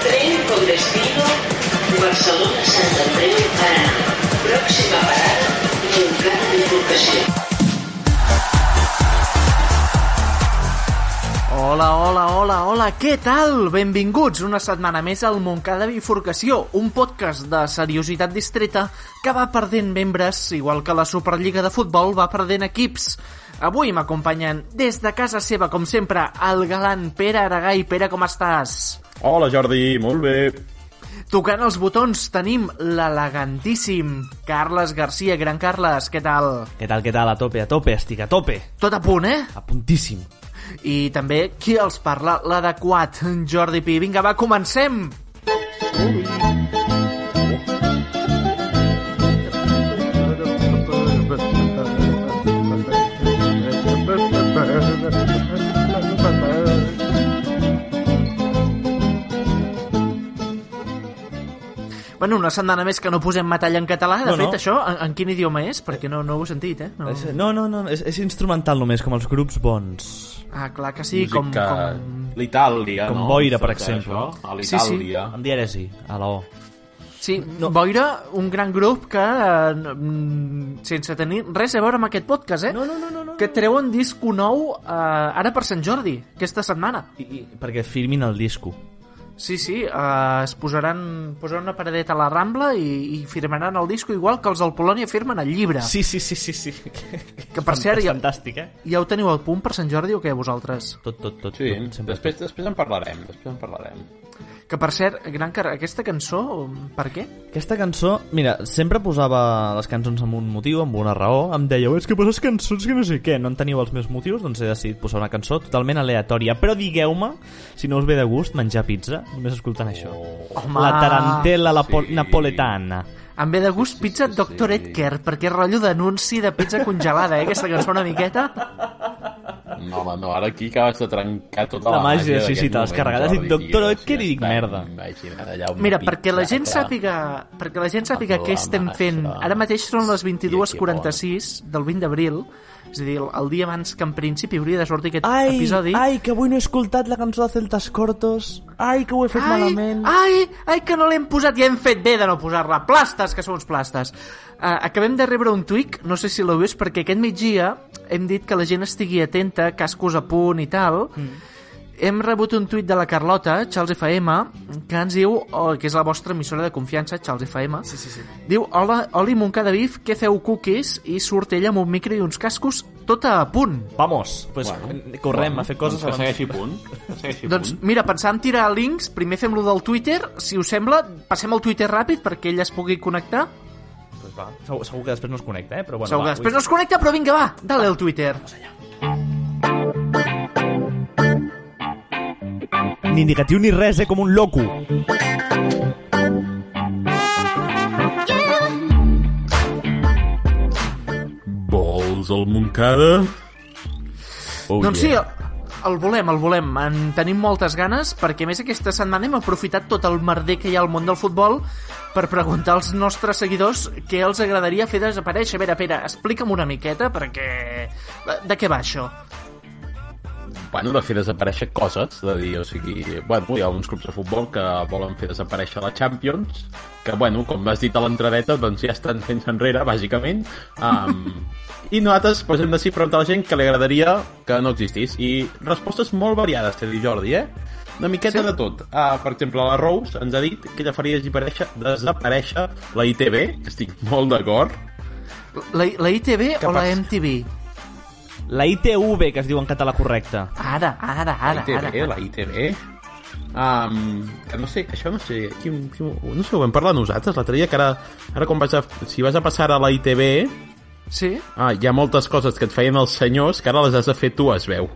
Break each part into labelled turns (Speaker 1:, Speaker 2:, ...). Speaker 1: Tren con destino Barcelona Sant Andreu Paraná. Próxima parada Montcada de Forcació.
Speaker 2: Hola, hola, hola, hola, què tal? Benvinguts una setmana més al Montcada Bifurcació, un podcast de seriositat distreta que va perdent membres, igual que la Superliga de Futbol va perdent equips. Avui m'acompanyen des de casa seva, com sempre, el galant Pere Aragai. Pere, com estàs?
Speaker 3: Hola Jordi, molt bé.
Speaker 2: Tocant els botons tenim l'elegantíssim Carles Garcia. Gran Carles, què tal?
Speaker 4: Què tal, què tal? A tope, a tope, estic a tope.
Speaker 2: Tot a punt, eh?
Speaker 4: A puntíssim.
Speaker 2: I també, qui els parla? L'adequat, en Jordi Pi. Vinga, va, comencem! Bueno, una setmana més que no posem metall en català. De
Speaker 4: No,
Speaker 2: no, fet,
Speaker 4: no.
Speaker 2: no. això, en, en quin idioma és? Perquè no, no ho he sentit, eh? No.
Speaker 4: Ah. És- No, no, no, és, és instrumental només, com els grups bons.
Speaker 2: Ah, clar que sí, com,
Speaker 3: Música-
Speaker 2: com...
Speaker 3: L'Itàlia,
Speaker 4: Com
Speaker 3: no?
Speaker 4: boira, per
Speaker 3: Tot
Speaker 4: exemple.
Speaker 3: Això, a
Speaker 2: Sí, sí.
Speaker 3: l'Itàlia.
Speaker 4: Amb dièresi, a la O.
Speaker 2: Sí, no. Boira, un gran grup que, eh, mm, sense tenir res a veure amb aquest podcast, eh?
Speaker 4: No, no, no, no, no.
Speaker 2: Que treuen disco nou eh, ara per Sant Jordi, aquesta setmana.
Speaker 4: I, i, perquè firmin el disco.
Speaker 2: Sí, sí, eh, es posaran, posaran una paradeta a la Rambla i, i firmaran el disco igual que els del Polònia firmen el llibre.
Speaker 4: Sí, sí, sí, sí, sí. Ah. Que
Speaker 2: per cert, ja-
Speaker 4: Fantàstic, eh?
Speaker 2: Ja ho teniu al punt per Sant Jordi o què, vosaltres?
Speaker 4: Tot, tot, tot.
Speaker 3: Sí,
Speaker 4: tot, sempre.
Speaker 3: després, després en parlarem, després en parlarem.
Speaker 2: Que, per cert, Gran Car, aquesta cançó, per què?
Speaker 4: Aquesta cançó, mira, sempre posava les cançons amb un motiu, amb una raó. Em dèieu, és que poses cançons que no sé què, no en teniu els meus motius, doncs he decidit posar una cançó totalment aleatòria. Però digueu-me, si no us ve de gust, menjar pizza, només escoltant això.
Speaker 2: Oh. Home,
Speaker 4: La tarantela la po-
Speaker 3: Sí.
Speaker 4: napoletana.
Speaker 2: Em ve de gust pizza Dr. Edgar, perquè és rotllo d'anunci de pizza congelada, eh, aquesta cançó una miqueta.
Speaker 3: No, home, no, ara aquí acabes de trencar tota
Speaker 4: La
Speaker 3: la,
Speaker 4: màgia, sí,
Speaker 3: d'aquest
Speaker 4: sí, te l'has
Speaker 3: moment,
Speaker 4: carregat, has dit,
Speaker 3: Jordi,
Speaker 4: "Doctor
Speaker 3: tio,
Speaker 4: Oetker", i
Speaker 3: ja
Speaker 4: dic,
Speaker 3: està,
Speaker 4: "Merda".
Speaker 3: imagina't allà un
Speaker 2: Mira,
Speaker 3: pit,
Speaker 2: perquè la gent
Speaker 3: clar.
Speaker 2: sàpiga, perquè la gent sàpiga què estem fent. Ara mateix són les 22.46 del 20 d'abril, és a dir, el dia abans que en principi hauria de sortir aquest episodi.
Speaker 4: que avui no he escoltat la cançó de Celtas Cortos. Ai, que ho he
Speaker 2: ai, ai, ai, que no l'hem posat i hem fet bé de no posar-la. Plastes, que són uns plastes. Uh, acabem de rebre un tuic, no sé si l'heu vist, perquè aquest migdia hem dit que la gent estigui atenta, cascos a punt i tal, mm. Hem rebut un tuit de la Carlota, Charles FM, que ens diu, oh, que és la vostra emissora de confiança, Charles FM, sí, sí, sí. diu, hola, Oli Moncada Bif, què feu cookies? I surt ella amb un micro i uns cascos tota a punt.
Speaker 4: Vamos, pues, bueno, correm bueno, a fer coses
Speaker 3: Doncs que
Speaker 4: abans.
Speaker 3: segueixi a punt. Que segueixi a
Speaker 2: Doncs
Speaker 3: punt.
Speaker 2: mira, pensàvem tirar links, primer fem lo del Twitter, si us sembla, passem al Twitter ràpid perquè ella es pugui connectar.
Speaker 4: Pues va, segur, segur que després no es connecta, eh? Però bueno,
Speaker 2: Segur que
Speaker 4: va,
Speaker 2: després no es connecta, però vinga, va, dale al Twitter.
Speaker 4: Ni negatiu ni res, eh? Com un loco.
Speaker 3: Vols el Montcada? Oh,
Speaker 2: Doncs sí,
Speaker 3: yeah.
Speaker 2: el, el volem, el volem. En tenim moltes ganes perquè, a més, aquesta setmana hem aprofitat tot el merder que hi ha al món del futbol per preguntar als nostres seguidors què els agradaria fer desaparèixer. A veure, Pere, explica'm una miqueta perquè... De què va això?
Speaker 3: bueno, de fer desaparèixer coses, de dir, o sigui, bueno, hi ha uns clubs de futbol que volen fer desaparèixer la Champions, que, bueno, com has dit a l'entradeta, doncs ja estan fent enrere, bàsicament, um, i nosaltres pues, hem decidit preguntar a la gent que li agradaria que no existís, i respostes molt variades, t'he dit, Jordi, eh? Una miqueta
Speaker 2: Sí.
Speaker 3: sí. de tot. Uh, per exemple, la Rose ens ha dit que ella faria desaparèixer, desaparèixer la ITV, que estic molt d'acord,
Speaker 2: La, la ITV o la
Speaker 3: passa?
Speaker 2: MTV?
Speaker 4: La ITV, que es diu en català correcte.
Speaker 2: Ara, ara, ara,
Speaker 3: ITV,
Speaker 2: ara.
Speaker 3: E, la ITV. Um, que no sé, que això no sé, qui, qui, no sé, ho vam parlar nosaltres l'altre dia, que ara, ara quan vaig a, si vas a passar a la ITV,
Speaker 2: Sí?
Speaker 3: E, Ah, hi ha moltes coses que et feien els senyors que ara les has de fer tu, es veu.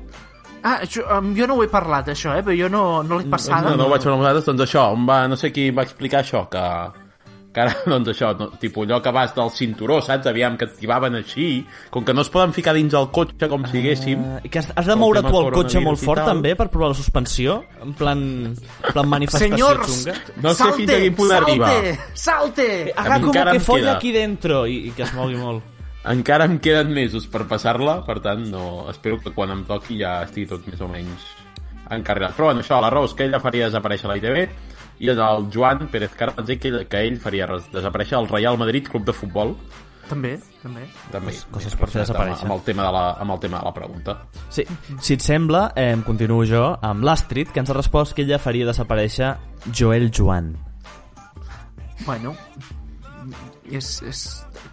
Speaker 2: Ah, això, um, jo no ho he parlat, això, eh? Però jo no, no l'he passada.
Speaker 3: No, no ho vaig veure amb vosaltres, doncs això, on va, no sé qui va explicar això, que, que ara, doncs això, no, tipus allò que vas del cinturó, saps? Aviam que activaven així, com que no es poden ficar dins el cotxe com si haguéssim...
Speaker 4: Eh, que has, has de
Speaker 3: El
Speaker 4: moure
Speaker 3: tema
Speaker 4: tu el cotxe
Speaker 3: coronavirus
Speaker 4: molt
Speaker 3: i
Speaker 4: fort
Speaker 3: tal.
Speaker 4: també per provar la suspensió en plan, en plan manifestació
Speaker 2: Senyors,
Speaker 4: xunga
Speaker 3: No sé
Speaker 2: salte,
Speaker 3: fins a quin punt
Speaker 2: salte,
Speaker 3: arriba.
Speaker 2: salte!
Speaker 3: A mi
Speaker 4: Agafa
Speaker 3: encara
Speaker 4: que
Speaker 3: em
Speaker 4: folla
Speaker 3: queda.
Speaker 4: aquí dentro i, i que es mogui molt
Speaker 3: Encara em queden mesos per passar-la, per tant, no, espero que quan em toqui ja estigui tot més o menys encarregat. Però bueno, això, la Rose, que ella faria desaparèixer la ITV, i el Joan Pérez Carles, que, ell- que ell faria res- desaparèixer el Real Madrid Club de Futbol,
Speaker 2: També, també.
Speaker 3: també.
Speaker 4: coses per fer desaparèixer. Ah.
Speaker 3: Amb, amb, el tema de la, amb el tema de la pregunta.
Speaker 4: sí. si et sembla, eh, continuo jo amb l'Astrid que ens ha respost que ella faria desaparèixer Joel Joan
Speaker 2: Bueno, és, és...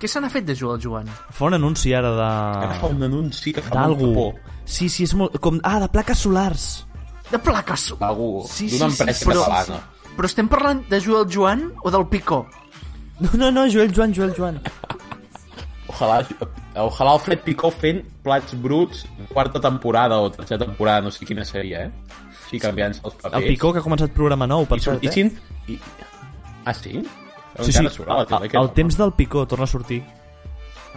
Speaker 2: Què se n'ha fet de jugar el Joan?
Speaker 4: fa un anunci ara
Speaker 3: Ara fa
Speaker 4: de...
Speaker 3: un anunci que fa molta
Speaker 4: d'algú
Speaker 3: por.
Speaker 4: sí, sí, és molt... com... ah, de plaques solars
Speaker 2: De plaques!
Speaker 3: D'algú,
Speaker 4: Sí, sí,
Speaker 3: d'una
Speaker 4: sí,
Speaker 3: empresa
Speaker 4: però-
Speaker 3: catalana.
Speaker 2: Però estem parlant de jugar el Joan o del Picó?
Speaker 4: no, no, no, Joel Joan, Joel Joan
Speaker 3: Ojalà, ojalà el Fred Picó fent plats bruts quarta temporada o tercera temporada, no sé quina seria, eh? Ah, Sí, canviant-se els papers.
Speaker 4: el Picó que ha començat programa nou per
Speaker 3: I, surt,
Speaker 4: cert,
Speaker 3: i,
Speaker 4: eh?
Speaker 3: sin... I... Ah, sí?
Speaker 4: sí, sí,
Speaker 3: Encara surt Ah, a la tele,
Speaker 4: el,
Speaker 3: aquest
Speaker 4: el
Speaker 3: home.
Speaker 4: temps del Picó torna a sortir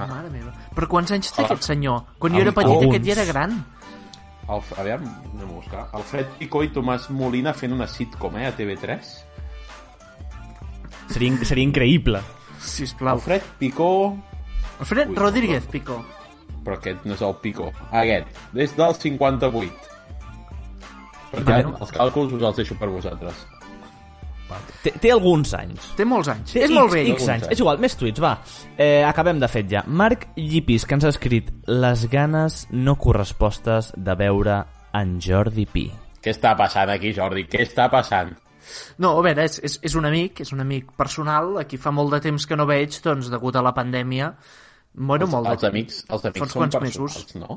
Speaker 2: Ah. Mare meva. Però quants anys té
Speaker 3: Ah.
Speaker 2: aquest senyor? Quan jo
Speaker 4: Ah,
Speaker 2: era petit
Speaker 4: alguns.
Speaker 2: aquest ja era gran.
Speaker 3: El, aviam, anem a buscar. El Fred Picó i Tomàs Molina fent una sitcom, eh, a TV3.
Speaker 4: seria, in- seria increïble
Speaker 3: El
Speaker 2: Sisplau.
Speaker 3: Fred Picó...
Speaker 2: Alfred
Speaker 3: Ui,
Speaker 2: Rodríguez Picó.
Speaker 3: Però aquest no és el Picó. Aquest, des del 58. Per tant,
Speaker 2: Bueno.
Speaker 3: els càlculs us els deixo per vosaltres.
Speaker 4: té, té alguns anys
Speaker 2: Té molts anys.
Speaker 4: Té
Speaker 2: és molt vell.
Speaker 4: X anys. És igual, més tuits, va. Eh, acabem de fet ja. Marc Llipis, que ens ha escrit les ganes no correspostes de veure en Jordi Pi.
Speaker 3: Què està passant aquí, Jordi? Què està passant?
Speaker 2: No, a veure, és, és, és un amic, és un amic personal, a qui fa molt de temps que no veig, doncs, degut a la pandèmia, bueno, molt de
Speaker 3: els amics, els
Speaker 2: fa
Speaker 3: amics
Speaker 2: uns
Speaker 3: són
Speaker 2: quants
Speaker 3: personals,
Speaker 2: mesos.
Speaker 3: no?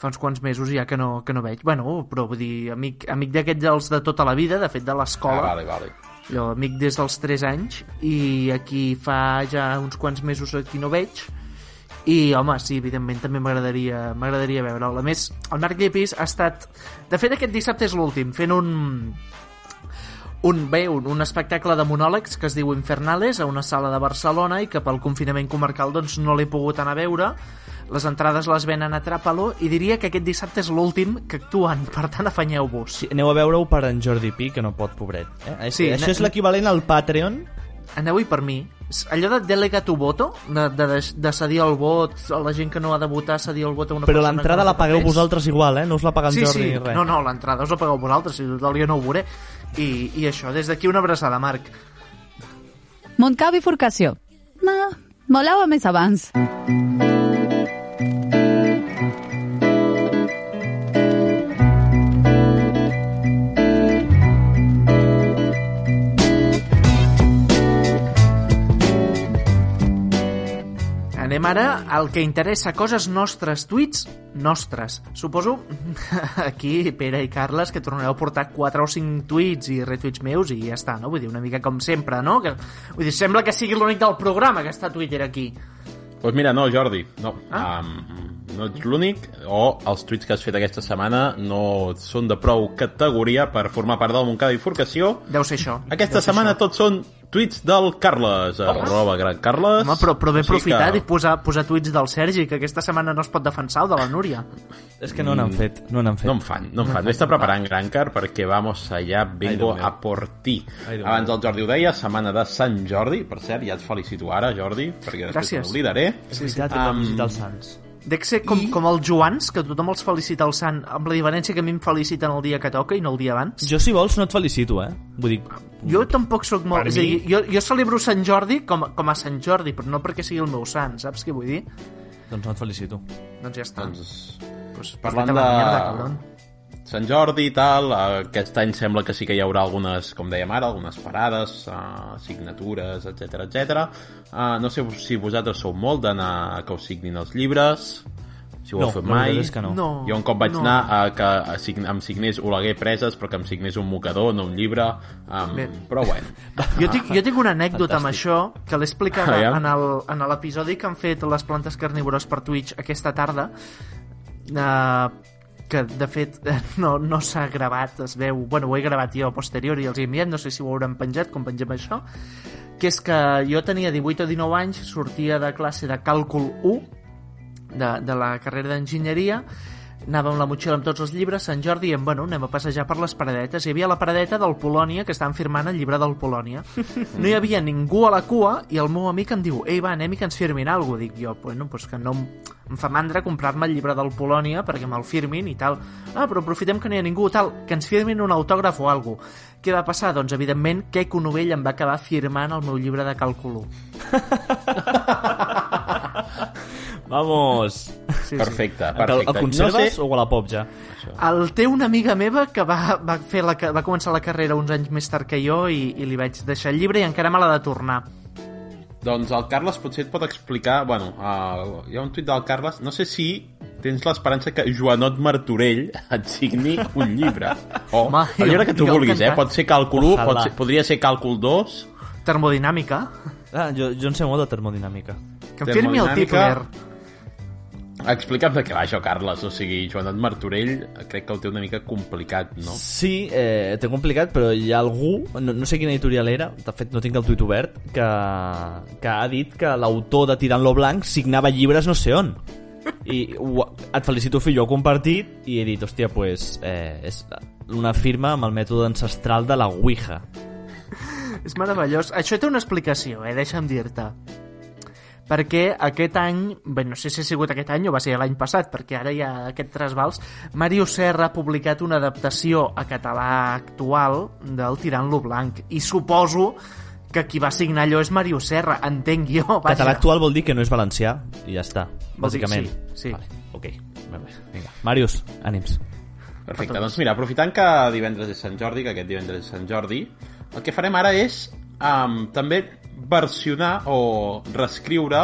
Speaker 2: Fa uns quants mesos ja que no, que no veig. Bueno, però vull dir, amic, amic d'aquest dels de tota la vida, de fet
Speaker 3: Ah,
Speaker 2: de l'escola,
Speaker 3: vale, vale.
Speaker 2: allò, amic des dels 3 anys, i aquí fa ja uns quants mesos aquí no veig, i home, sí, evidentment també m'agradaria m'agradaria veure'l. A més, el Marc Llepis ha estat... De fet, aquest dissabte és l'últim, fent un, un, bé, un, un espectacle de monòlegs que es diu Infernales a una sala de Barcelona i que pel confinament comarcal doncs, no l'he pogut anar a veure les entrades les venen a Tràpalo i diria que aquest dissabte és l'últim que actuen per tant afanyeu-vos
Speaker 4: Sí, aneu a veure-ho per en Jordi Pi, que no pot, pobret. Eh?
Speaker 2: Sí,
Speaker 4: Sí, Això
Speaker 2: ne-
Speaker 4: és l'equivalent al Patreon.
Speaker 2: aneu-hi per mi És allò de delega tu voto de, de, de- de cedir el vot a la gent que no ha de votar cedir el vot a una
Speaker 4: Però
Speaker 2: persona
Speaker 4: l'entrada
Speaker 2: que no
Speaker 4: la pagueu
Speaker 2: té papers.
Speaker 4: vosaltres igual, eh? No us la paga en
Speaker 2: sí,
Speaker 4: Jordi
Speaker 2: sí.
Speaker 4: ni res.
Speaker 2: No, no, l'entrada us la pagueu vosaltres, si total jo no ho veuré. I, i això, des d'aquí una abraçada, Marc.
Speaker 5: Montcau bifurcació. No, molava més abans.
Speaker 2: Anem ara al que interessa, coses nostres, tuits nostres. Suposo aquí, Pere i Carles, que tornareu a portar 4 o 5 tuits i retuits meus i ja està, no? Vull dir, una mica com sempre, no? Que, vull dir, sembla que sigui l'únic del programa que està a Twitter aquí.
Speaker 3: Pues Doncs mira, no, Jordi, no. Ah? Um, no ets l'únic, o els tuits que has fet aquesta setmana no són de prou categoria per formar part del Montcada Bifurcació.
Speaker 2: Deu ser això.
Speaker 3: Aquesta
Speaker 2: Deu ser
Speaker 3: setmana
Speaker 2: això. Oh.
Speaker 3: tots són tuits del Carles, arroba gran Carles.
Speaker 2: Home, però, però ben eh?
Speaker 3: Així
Speaker 2: aprofitat
Speaker 3: que-
Speaker 2: i posar, posar tuits del Sergi, que aquesta setmana no es pot defensar, o de la Núria.
Speaker 4: És que no n'han fet, Mm. no n'han fet.
Speaker 3: No em fan, no em fan. M'està preparant Grancar perquè vamos allá, vengo a por ti.
Speaker 4: Déu
Speaker 3: Abans el Jordi ho deia, setmana de Sant Jordi, per cert, ja et felicito ara, Jordi, perquè després
Speaker 2: Gràcies.
Speaker 3: no oblidaré.
Speaker 4: És veritat,
Speaker 3: Am-
Speaker 4: um... visitar els Sants.
Speaker 2: Dec ser com, I... com els Joans, que tothom els felicita al sant, amb la diferència que a mi em feliciten el dia que toca i no el dia abans.
Speaker 4: Jo, si vols, no et felicito, eh? Vull dir,
Speaker 2: Jo tampoc sóc molt...
Speaker 4: Per
Speaker 2: És a dir, jo, jo celebro Sant Jordi com, com a Sant Jordi, però no perquè sigui el meu sant, saps què vull dir?
Speaker 4: doncs no et felicito.
Speaker 2: Doncs ja està. Doncs,
Speaker 3: Doncs,
Speaker 2: pues,
Speaker 3: parlant
Speaker 2: vete a la
Speaker 3: de-
Speaker 2: Mierda, cabrón.
Speaker 3: Sant Jordi i tal, eh, aquest any sembla que sí que hi haurà algunes, com dèiem ara, algunes parades, eh, signatures, etc etc. Eh, no sé si vosaltres sou molt d'anar a que us signin els llibres, si ho heu
Speaker 4: No,
Speaker 3: fet
Speaker 4: la veritat
Speaker 3: mai.
Speaker 4: és que no.
Speaker 2: No,
Speaker 3: Jo un cop vaig
Speaker 2: no.
Speaker 3: anar a que a sign- em signés Oleguer Preses, però que em signés un mocador, no un llibre. Um,
Speaker 2: Bé.
Speaker 3: però bueno.
Speaker 2: Jo tinc, jo tinc una anècdota
Speaker 4: Fantàstic.
Speaker 2: amb això que l'he explicat
Speaker 3: Aviam.
Speaker 2: en el- en l'episodi que han fet les plantes carnívores per Twitch aquesta tarda uh, que de fet no, no s'ha gravat es veu, bueno ho he gravat jo a posteriori els he enviat, no sé si ho hauran penjat quan pengem això que és que jo tenia 18 o 19 anys, sortia de classe de càlcul 1 de, de la carrera d'enginyeria anava amb la motxilla amb tots els llibres, Sant Jordi, i em, bueno, anem a passejar per les paradetes. Hi havia la paradeta del Polònia, que estaven firmant el llibre del Polònia. No hi havia ningú a la cua, i el meu amic em diu, ei, va, anem i que ens firmin alguna cosa. Dic jo, bueno, pues que no em, em fa mandra comprar-me el llibre del Polònia perquè me'l firmin i tal. Ah, però aprofitem que no hi ha ningú, tal, que ens firmin un autògraf o alguna cosa. Què va passar? Doncs, evidentment, Queco Novell em va acabar firmant el meu llibre de càlcul 1.
Speaker 4: Vamos!
Speaker 2: Sí, sí.
Speaker 3: Perfecte,
Speaker 4: El,
Speaker 3: perfecte.
Speaker 4: el conserves
Speaker 3: No sé,
Speaker 4: o a la pop ja?
Speaker 2: El té una amiga meva que va, va, fer la, ca- va començar la carrera uns anys més tard que jo i, i li vaig deixar el llibre i encara me l'ha de tornar.
Speaker 3: Doncs el Carles potser et pot explicar... Bueno, el, hi ha un tuit del Carles. No sé si tens l'esperança que Joanot Martorell et signi un llibre. O
Speaker 2: Home,
Speaker 3: el llibre que tu
Speaker 2: jo
Speaker 3: vulguis, eh?
Speaker 2: encantat.
Speaker 3: Pot ser càlcul 1, pot
Speaker 4: Ojalà.
Speaker 3: ser, podria ser càlcul 2...
Speaker 2: Termodinàmica.
Speaker 4: Ah, jo, jo en sé molt de termodinàmica.
Speaker 2: Que em firmi el Tipler.
Speaker 3: Termodinàmica. Explica'm de què va això, Carles. O sigui, Joanot Martorell crec que ho té una mica complicat, no?
Speaker 4: Sí, eh, té complicat, però hi ha algú, no, no sé quina editorial era, de fet no tinc el tuit obert, que, que ha dit que l'autor de Tirant lo Blanc signava llibres no sé on. I ho, et felicito, fill, jo ho he compartit i he dit, hòstia, pues, eh, és una firma amb el mètode ancestral de la Ouija.
Speaker 2: És meravellós. Això té una explicació, eh? Deixa'm dir-te. Perquè aquest any, bé, no sé si ha sigut aquest any o va ser l'any passat, perquè ara hi ha aquest trasbals, Mario Serra ha publicat una adaptació a català actual del Tirant lo Blanc. I suposo que qui va signar allò és Mario Serra, entenc jo. Vaja.
Speaker 4: Català actual vol dir que no és valencià i ja està,
Speaker 2: Vol dir-
Speaker 4: bàsicament.
Speaker 2: sí, sí.
Speaker 4: Vale, ok, Molt bé, vinga. Marius, ànims.
Speaker 3: Perfecte, doncs mira, aprofitant que divendres és Sant Jordi, que aquest divendres és Sant Jordi, el que farem ara és um, també versionar o reescriure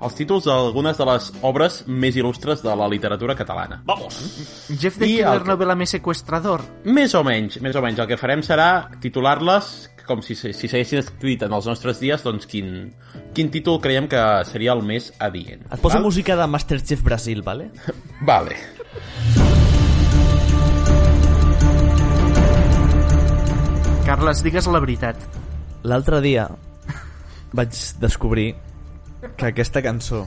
Speaker 3: els títols d'algunes de les obres més il·lustres de la literatura catalana.
Speaker 2: Jeff the
Speaker 3: I
Speaker 2: Killer
Speaker 3: el que-
Speaker 2: Novela Més Sequestrador.
Speaker 3: Més o menys, més o menys. El que farem serà titular-les com si, se- si s'haguessin escrit en els nostres dies, doncs quin, quin títol creiem que seria el més adient.
Speaker 4: Et poso
Speaker 3: val?
Speaker 4: música de Masterchef Brasil, vale?
Speaker 3: Vale.
Speaker 2: Carles, digues la veritat.
Speaker 4: L'altre dia vaig descobrir que aquesta cançó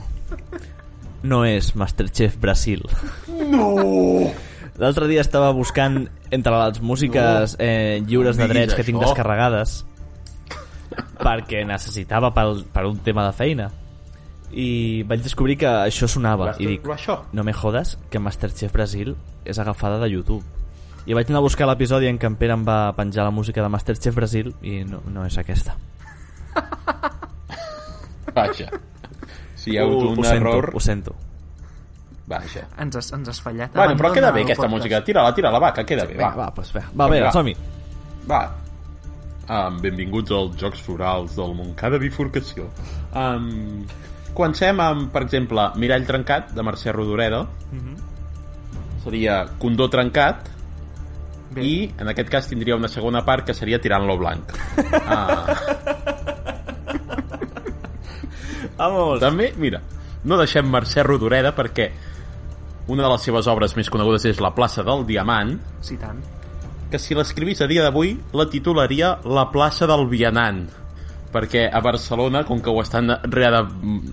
Speaker 4: no és Masterchef Brasil. No! L'altre dia estava buscant entre les músiques eh, lliures de
Speaker 3: No
Speaker 4: drets
Speaker 3: diguis
Speaker 4: que tinc
Speaker 3: això.
Speaker 4: descarregades perquè necessitava pel, per un tema de feina i vaig descobrir que això sonava i dic,
Speaker 3: Però això.
Speaker 4: no me jodas que Masterchef Brasil és agafada de YouTube. I vaig anar a buscar l'episodi en què en Pere em va penjar la música de Masterchef Brasil i no, no és aquesta.
Speaker 3: Vaja. Si hi ha
Speaker 4: ho,
Speaker 3: hagut
Speaker 4: ho
Speaker 3: un
Speaker 4: sento,
Speaker 3: error...
Speaker 4: ho sento.
Speaker 3: Vaja.
Speaker 2: Ens has, ens has fallat.
Speaker 3: Bueno, però queda
Speaker 2: Abandona
Speaker 3: bé
Speaker 2: el
Speaker 3: aquesta
Speaker 2: podcast.
Speaker 3: música. Tira-la, tira-la, va, que queda bé,
Speaker 4: Va,
Speaker 3: va.
Speaker 4: va, pues, va, va,
Speaker 3: Vinga,
Speaker 4: va,
Speaker 3: va.
Speaker 4: som-hi.
Speaker 3: Va. Um, benvinguts als Jocs Florals del Montcada Bifurcació. Um, comencem amb, per exemple, Mirall trencat, de Mercè Rodoreda. Seria Condó trencat.
Speaker 2: Bé.
Speaker 3: I, en aquest cas, tindria una segona part que seria Tirant-lo blanc. Ah.
Speaker 4: Vamos.
Speaker 3: També, mira, no deixem Mercè Rodoreda perquè una de les seves obres més conegudes és La plaça del Diamant,
Speaker 2: Sí, tant.
Speaker 3: que si l'escrivís a dia d'avui la titularia La plaça del Vianant perquè a Barcelona, com que ho estan, reada,